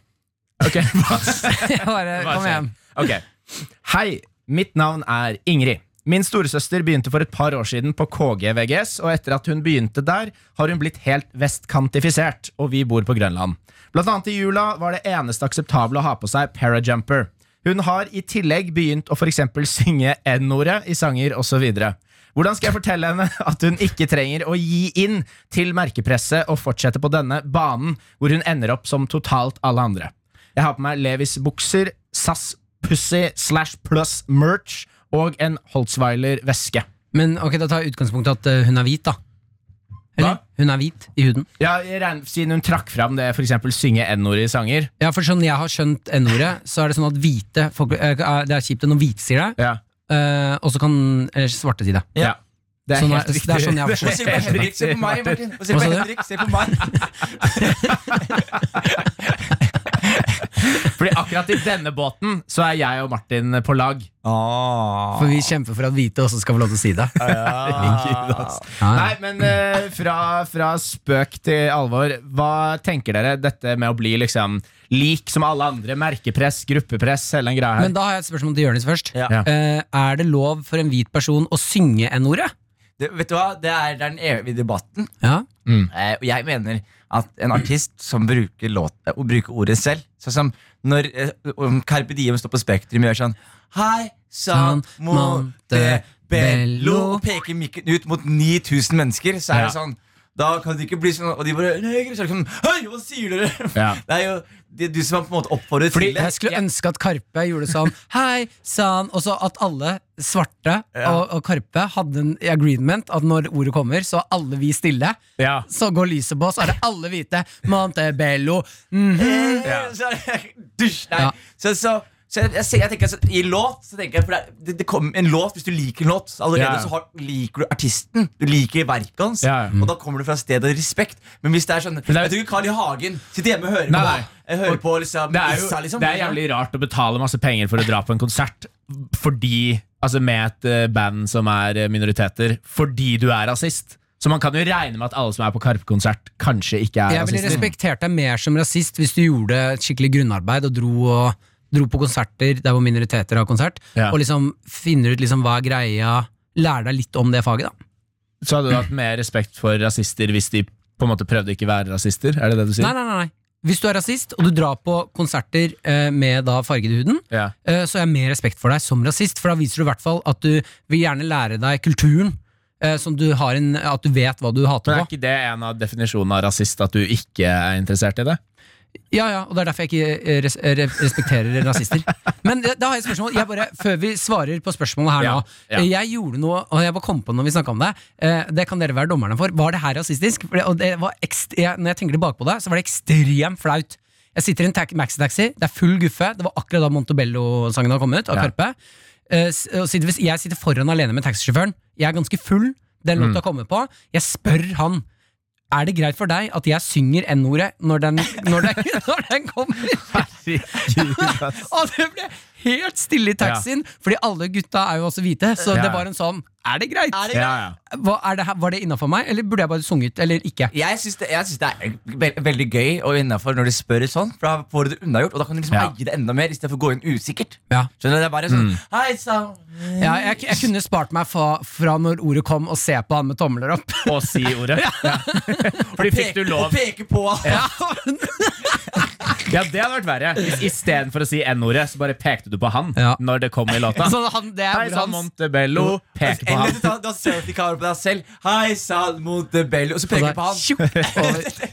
B: [LAUGHS]
C: Ok, [LAUGHS] hva-
B: Bare
C: Hva
B: kom
C: skjer?
B: igjen.
C: Ok. Hei, mitt navn er Ingrid. Min storesøster begynte for et par år siden på KG-VGS, og etter at hun begynte der, har hun blitt helt vestkantifisert, og vi bor på Grønland. Blant annet i jula var det eneste akseptable å ha på seg parajumper. Hun har i tillegg begynt å for eksempel synge N-ordet i sanger osv. Hvordan skal jeg fortelle henne at hun ikke trenger å gi inn til merkepresset og fortsette på denne banen, hvor hun ender opp som totalt alle andre? Jeg har på meg Levis bukser, SAS Pussy slash pluss merch og en Holtzweiler veske.
B: Men ok, da tar jeg utgangspunkt i at eh, hun er hvit, da. Eller?
C: Hva?
B: Hun er hvit i huden.
C: Ja, jeg regner, Siden hun trakk fram det for eksempel synge N-ordet i sanger.
B: Ja, for sånn jeg har skjønt N-ordet, så er det sånn at hvite folk, eh, er- Det er kjipt når hvite sier det,
C: Ja.
B: eh, og så kan eh, svarte si det.
C: ja. Det
B: Sånn er- det er sånn jeg har
C: [LAUGHS] Det er
B: forstått
E: Se
B: det.
E: på
C: helt
E: [LAUGHS] Henrik,
C: riktig,
E: se på meg,
C: Martin.
E: Martin. Se på
B: Hva sa du?
E: Henrik, se på meg.
C: Fordi akkurat i denne båten så er jeg og Martin på lag.
E: Ah.
B: For vi kjemper for at hvite også skal få lov til å si det.
C: Herregud, ass. Nei, men eh, fra, fra spøk til alvor, hva tenker dere dette med å bli liksom lik som alle andre? Merkepress, gruppepress, hele den greia her.
B: Men da har jeg et spørsmål til Jonis først.
E: Ja.
C: Ja.
B: Eh, er det lov for en hvit person å synge N-ordet?
E: Det, vet du hva? Det er, det er den evige debatten.
B: Ja.
E: Eh, og jeg mener at en artist som bruker, låt, eh, og bruker ordet selv Sånn som når eh, om Carpe Diem står på Spektrum og gjør sånn Hei sann, Montebello Peker mikken ut mot 9000 mennesker, så er det
C: Ja.
E: sånn da kan det ikke bli sånn Og de bare «Nei, så er det sånn, Hei, hva sier dere?
C: Ja.
E: [LAUGHS] Det er jo det er du som har på en måte oppfordret
B: Fordi
E: til det.
B: jeg skulle ønske at Karpe gjorde [LAUGHS] sånn Hei, sann Og så at alle svarte og, og Karpe hadde en agreement at når ordet kommer, så er alle vi stille.
C: Ja.
B: Så går lyset på, så er det alle hvite. Montebello. mhm.
E: Eh, [LAUGHS] Så er det Dusj, nei
B: Ja.
E: Så, så, så jeg, jeg, ser- jeg tenker altså, I låt så tenker jeg For det, er- det, det kommer en låt Hvis du liker en låt så Allerede
C: Ja.
E: så har, liker du artisten Du liker verket hans
C: Ja, ja.
E: Og da kommer du fra et sted av respekt Men hvis det er sånn
C: det er-
E: Jeg tror ikke Carl I. Hagen Sitter hjemme og hører
C: Nei,
E: på
C: nei.
E: Jeg hører på liksom
C: Det er jo
E: Issa liksom
C: det er jævlig rart å betale masse penger for å dra på en konsert fordi, altså med et eh, band som er eh, minoriteter, fordi du er rasist. Så man kan jo regne med at alle som er på Karpe-konsert, kanskje ikke er
B: Jeg ville
C: rasister.
B: respektert deg mer som rasist hvis du gjorde et skikkelig grunnarbeid og dro, og, dro på konserter der hvor minoriteter har konsert,
C: Ja.
B: og liksom finner ut liksom hva er greia, lærer deg litt om det faget, da.
C: Så hadde du hatt mer respekt for rasister hvis de på en måte prøvde ikke å være rasister? Er det det du sier?
B: Nei, nei, nei, nei. Hvis du er rasist, og du drar på konserter eh, med da farget i huden,
C: Ja.
B: eh, så har jeg mer respekt for deg som rasist, for da viser du i hvert fall at du vil gjerne lære deg kulturen, eh, som du har en, at du vet hva du
C: Men
B: hater
C: er
B: på.
C: ikke det en av definisjonene av rasist, at du ikke er interessert i det?
B: Ja, ja, og det er derfor jeg ikke eh, res re- respekterer rasister. Men eh, da har jeg et spørsmål. Jeg bare, før vi svarer på spørsmålet her
C: Ja,
B: nå.
C: ja.
B: eh, Jeg gjorde noe, og jeg bare kom på det når vi snakka om det. eh, Det kan dere være dommerne for. Var det her rasistisk? For det- Og det var ekst jeg, når jeg tenker tilbake på det, så var det ekstremt flaut. Jeg sitter i en tak- maxitaxi, det er full guffe. Det var akkurat da Montebello-sangen hadde kommet ut. Av
C: Ja.
B: Karpe. Eh, s- og sitter ved- Jeg sitter foran alene med taxisjåføren. Jeg er ganske full. Den
C: Mm.
B: låta kommer på. Jeg spør han er det greit for deg at jeg synger N-ordet når, den- når, den- [LAUGHS] når den kommer? Og det ble helt stille i taxien, fordi alle gutta er jo også hvite. Så
C: Ja.
B: det var en sånn Er det greit?
E: Er det-
C: Ja, ja.
B: Hva, er det her, var det innafor meg, eller burde jeg bare sunget, eller ikke?
E: jeg synes, det, jeg synes det er ve- veldig gøy Og innenfor når du spør sånn For da får du det unnagjort Og da kan du liksom
C: Ja. Mm.
E: eie det enda mer I stedet for å gå inn usikkert
B: Ja.
E: Skjønner du? Det er bare sånn Hei, sa
B: Ja, jeg, jeg kunne spart meg fra, fra når ordet kom, og se på han med tomler opp.
C: Å si [LAUGHS] ordet? Ja. Fordi fikk du
E: Og
C: lov
E: peker på
B: Ja,
C: Ja, det hadde vært verre. Hvis Istedenfor å si N-ordet, så bare pekte du på han
B: Ja.
C: når det kom i låta.
B: [LAUGHS] Så han, det er
C: Hei
B: ordet
C: sann,
B: hans. altså,
C: Montebello. Peke på
E: Eller
C: han.
E: du tar, du har selfie-kamera på deg selv. Hei sann, Montebello. Og så peker du på
B: [LAUGHS]
E: han.
B: Altså, tjukk over.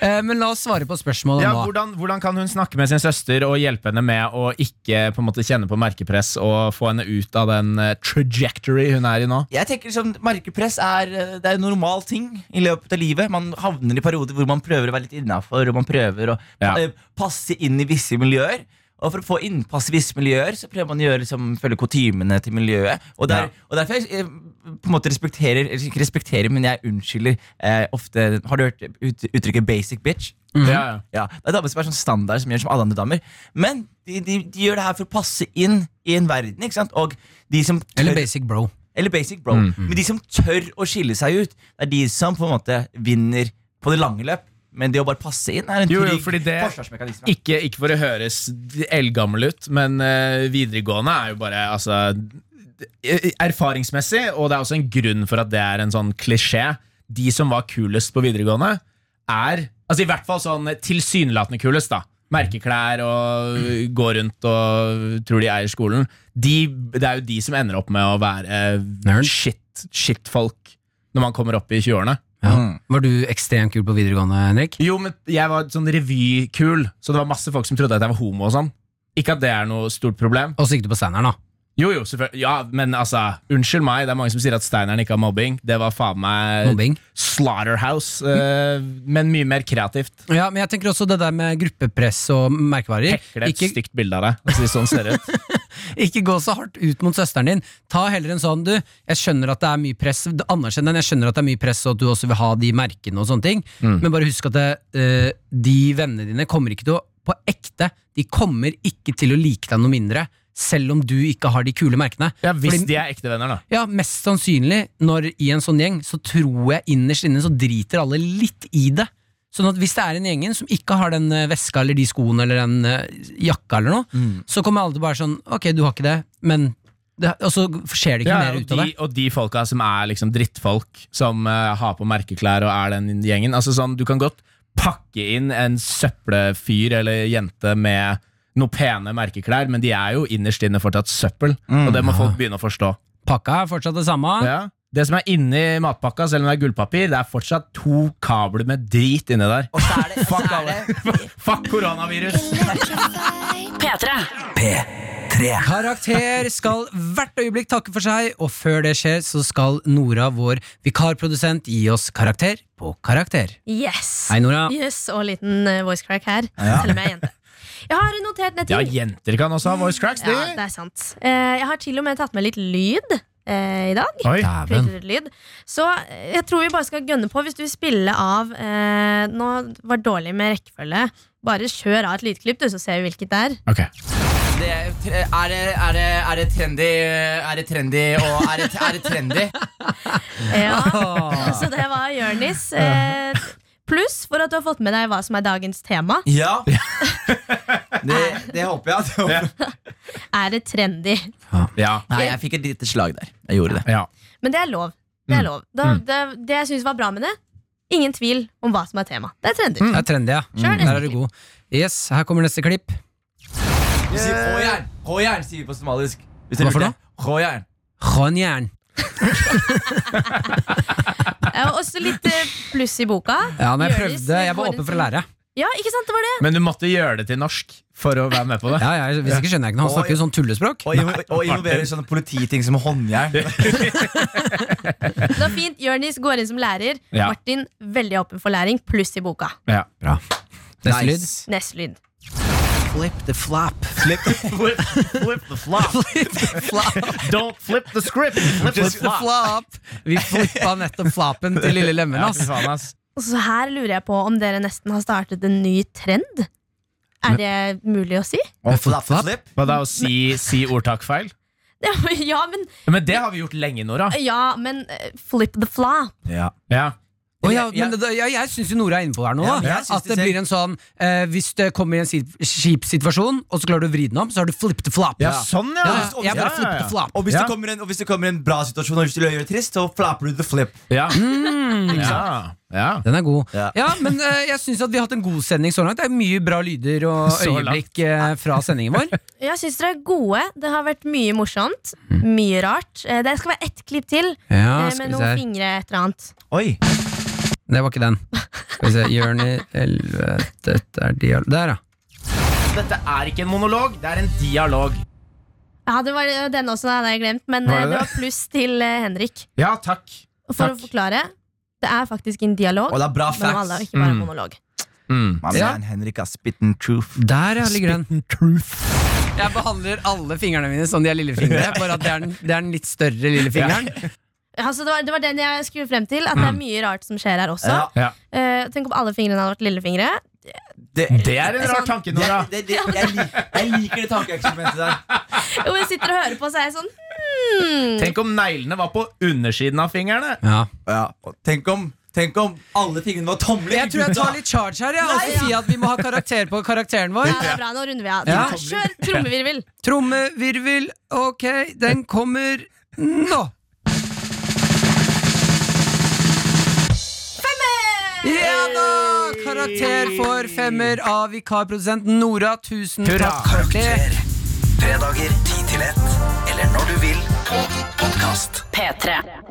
B: Eh, Men la oss svare på spørsmålet
C: Ja,
B: nå.
C: hvordan, hvordan kan hun snakke med sin søster og hjelpe henne med å ikke på en måte kjenne på merkepress og få henne ut av den eh, trajectory hun er i nå?
E: Jeg tenker liksom, Merkepress er eh, Det er en normal ting i løpet av livet. Man havner i perioder hvor man prøver å være litt innafor og man prøver å
C: Ja.
E: eh, passe inn i visse miljøer. Og For å få innpass i visse miljøer Så prøver man å gjøre, liksom, følge kutymene til miljøet. Og, der, og Derfor jeg, eh, på en måte respekterer eller Ikke respekterer, men jeg unnskylder eh, ofte Har du hørt ut, uttrykket 'basic bitch'?
C: Ja, ja.
E: Ja, Det er damer som er sånn standard som gjør som alle andre damer. Men de, de, de gjør det her for å passe inn i en verden. ikke sant? Og de som
B: Eller
E: tør-
B: basic Mm. bro.
E: eller basic bro. Men de som tør å skille seg ut, det er de som på en måte vinner på det lange løp. Men det å bare passe inn er en
C: Jo, jo,
E: trygg
C: fordi det-
E: forsvarsmekanisme.
C: Ikke, ikke for å høres eldgammel ut, men eh, videregående er jo bare altså, eh, erfaringsmessig, og det er også en grunn for at det er en sånn klisjé. De som var kulest på videregående, er altså i hvert fall sånn tilsynelatende kulest, da. Merkeklær og går rundt og tror de eier skolen. De, det er jo de som ender opp med å være eh,
B: Nerd.
C: shit, shitfolk når man kommer opp i 20-årene.
B: Ja. Var du ekstremt kul på videregående, Henrik?
C: Jo, men jeg var sånn revykul, så det var masse folk som trodde at jeg var homo og sånn. Ikke at det er noe stort problem.
B: Og så gikk du på standarden, da.
C: Jo, jo, selvfølgelig. Ja, men altså, unnskyld meg, det er mange som sier at Steineren ikke har mobbing. Det var faen meg
B: Mobbing.
C: slaughterhouse, eh, men mye mer kreativt.
B: Ja, men jeg tenker også det der med gruppepress og merkevarer.
C: Hekle et
B: Ikke,
C: stygt bilde av deg. Altså, sånn ser det ut.
B: ikke gå så hardt ut mot søsteren din. Ta heller en sånn, du, jeg skjønner at det er mye press, anerkjenn den, jeg skjønner at det er mye press, og at du også vil ha de merkene og sånne ting, men bare husk at det, eh, de vennene dine kommer ikke til å, på ekte, de kommer ikke til å like deg noe mindre, selv om du ikke har de kule merkene.
C: Ja, hvis
B: Fordi-
C: de er ekte venner, da.
B: ja, mest sannsynlig når i en sånn gjeng, så tror jeg innerst inne så driter alle litt i det. Sånn at hvis det er en gjengen som ikke har den eh, veska eller de skoene eller den eh, jakka eller noe, så kommer alle til å bare sånn Ok, du har ikke det, men det, Og så skjer det ikke
C: Ja,
B: mer
C: og,
B: ut av det.
C: de, og de folka som er liksom drittfolk, som eh, har på merkeklær og er den gjengen. Altså sånn, Du kan godt pakke inn en søppelfyr eller jente med noe pene merkeklær, men de er jo innerst inne fortsatt søppel, og det må folk begynne å forstå.
B: Pakka er fortsatt det samme.
C: Ja. Det som er inni matpakka, selv om det er gullpapir, det er fortsatt to kabler med drit inni der.
E: Og så er det, så er det
C: [LAUGHS] Fuck koronavirus!
A: P3.
D: P3
B: Karakter skal hvert øyeblikk takke for seg, og før det skjer, så skal Nora, vår vikarprodusent, gi oss karakter på karakter.
G: Yes.
B: Hei, Nora.
G: yes. Og liten eh, voice crack her, selv om jeg er jente. Jeg har notert ned
C: Ja,
G: ting.
C: jenter kan også ha voice cracks, de.
G: Ja, det er sant. Eh, jeg har til og med tatt med litt lyd eh, i dag.
C: Oi.
B: Dæven.
G: Litt lyd. Så eh, jeg tror vi bare skal gønne på. Hvis du vil spille av eh, Nå var det dårlig med rekkefølge. Bare kjør av et lydklipp, du, så ser vi hvilket det er.
C: Ok.
E: det er, er, det, er, det, er det trendy Er det trendy og er det, er det trendy?
G: Ja. Så det var Jørnis. Eh, pluss for at du har fått med deg hva som er dagens tema.
E: [LAUGHS] Ja. Det, det håper jeg. at jeg håper.
G: Er det trendy?
C: Ja.
E: Nei, jeg fikk et lite slag der. Jeg gjorde det.
C: ja.
G: Men det er lov. Det,
B: Mm.
G: er lov. Da, det, det jeg syns var bra med det, ingen tvil om hva som er tema. Det er trendy.
B: Det er trendy, ja.
G: Kjør neste
B: Der er du god. Yes, her kommer neste klipp.
E: Vi sier håjern, håjern, sier vi på somalisk. Hvis
B: Hva for noe?
E: Håjern.
B: Håndjern.
G: Eh, også litt eh, pluss i boka.
B: Ja, men jeg
G: Jonis
B: prøvde. Jeg var
G: går
B: åpen
G: inn
B: for å lære.
G: Ja, ikke sant, det var det.
C: Men du måtte gjøre det til norsk for å være med på det.
B: Ja, ja, hvis ikke skjønner jeg ikke noe. Han snakker jo sånn tullespråk.
E: Og, invo- og involverer sånne polititing som håndjern.
G: Det var fint, Jørnis går inn som lærer.
C: Ja.
G: Martin, veldig åpen for læring. Pluss i boka.
C: Ja.
B: Neste
E: [LAUGHS]
B: lyd.
G: Neste lyd.
B: Flip the flap.
C: Flip, flip the flop. Don't flip the script. Flip the
B: Flip the
C: flop.
B: [LAUGHS] flap. Vi flippa nettopp flapen til lille lemmen,
C: Ja, fy
B: ass.
C: faen, ass.
G: Og så her lurer jeg på om dere nesten har startet en ny trend. Er det mulig å si? [LAUGHS]
B: Og flap, flap.
C: Hva da å si, si ordtakfeil?
G: Ja, men,
C: Ja, Men det har vi gjort lenge, Nora.
G: ja, men eh, flip the flop.
E: Ja.
C: Ja.
B: Å ja,
E: Jeg-
B: men det, ja, jeg syns Nora er inne på det her nå.
E: Ja, men
B: da.
E: jeg synes
B: at det
E: det ser-
B: blir en sånn eh, Hvis det kommer i en si- kjip situasjon, og så klarer du å vri den om, så har du flip the flop.
C: Ja, sånn, ja.
B: Ja, jeg bare
C: Ja,
B: flip
C: ja,
B: the
C: ja.
B: flop.
E: Og hvis,
C: Ja.
E: det kommer en, og hvis det kommer en bra situasjon og du vil gjøre det trist, så flapper du the flip.
C: Ja. Mm, Ja. ja.
B: Den er god. Ja,
E: Ja.
B: men eh, jeg syns at vi har hatt en god sending så langt. Det er mye bra lyder og
C: Så langt.
B: øyeblikk eh, fra sendingen vår.
G: Jeg syns dere er gode. Det har vært mye morsomt.
B: Mm.
G: Mye rart. Eh, Det skal være ett klipp til
B: Ja,
G: eh,
B: skal vi se
G: med noen
B: her.
G: fingre et eller annet.
E: Oi,
B: Det var ikke den. Skal vi se. Jørni Helvete, dette er dialog Der, ja.
C: Dette er ikke en monolog, det er en dialog.
G: Ja, det var eh, den også, den hadde jeg glemt, men
C: Var
G: eh,
C: det
G: det
C: det?
G: var pluss til eh, Henrik.
C: Ja, takk.
G: Og For
C: Takk.
G: å forklare, det er faktisk en dialog
E: Og det er bra
G: mellom alle, og
E: facts.
G: ikke bare
C: Mm.
G: en monolog.
C: Mm.
E: My
B: Ja.
E: man, Henrik er spitting truth.
B: Der ja, ligger den. Jeg behandler alle fingrene mine som de er [LAUGHS] lillefingre, bare at det er den, det er den litt større lillefingeren.
G: Altså, det, var, det var den jeg skulle frem til, at det er mye rart som skjer her også.
C: Ja.
E: Ja.
G: Eh, tenk om alle fingrene hadde vært lillefingre.
E: Det, sånn-
C: Det er en rar tanke,
E: det,
C: Nora.
E: det, det, jeg, liker, jeg liker det tankeeksperimentet der.
G: Og jeg sitter og hører på, så er jeg sånn hmm.
C: Tenk om neglene var på undersiden av fingrene.
B: Ja.
E: Ja. og Tenk, om, tenk om alle tingene var tomler.
B: Jeg tror jeg tar litt charge her, ja, og så sier jeg at vi må ha karakter på karakteren
G: Ja,
B: vår.
G: det er bra, nå runder vi av.
B: Ja.
G: Kjør trommevirvel.
B: Trommevirvel, ok, den kommer nå. Ja da! Karakter for femmer av vikarprodusent Nora. Tusen takk for det.
D: Fredager 10 til 1, eller når du vil, på podkast.
A: P3.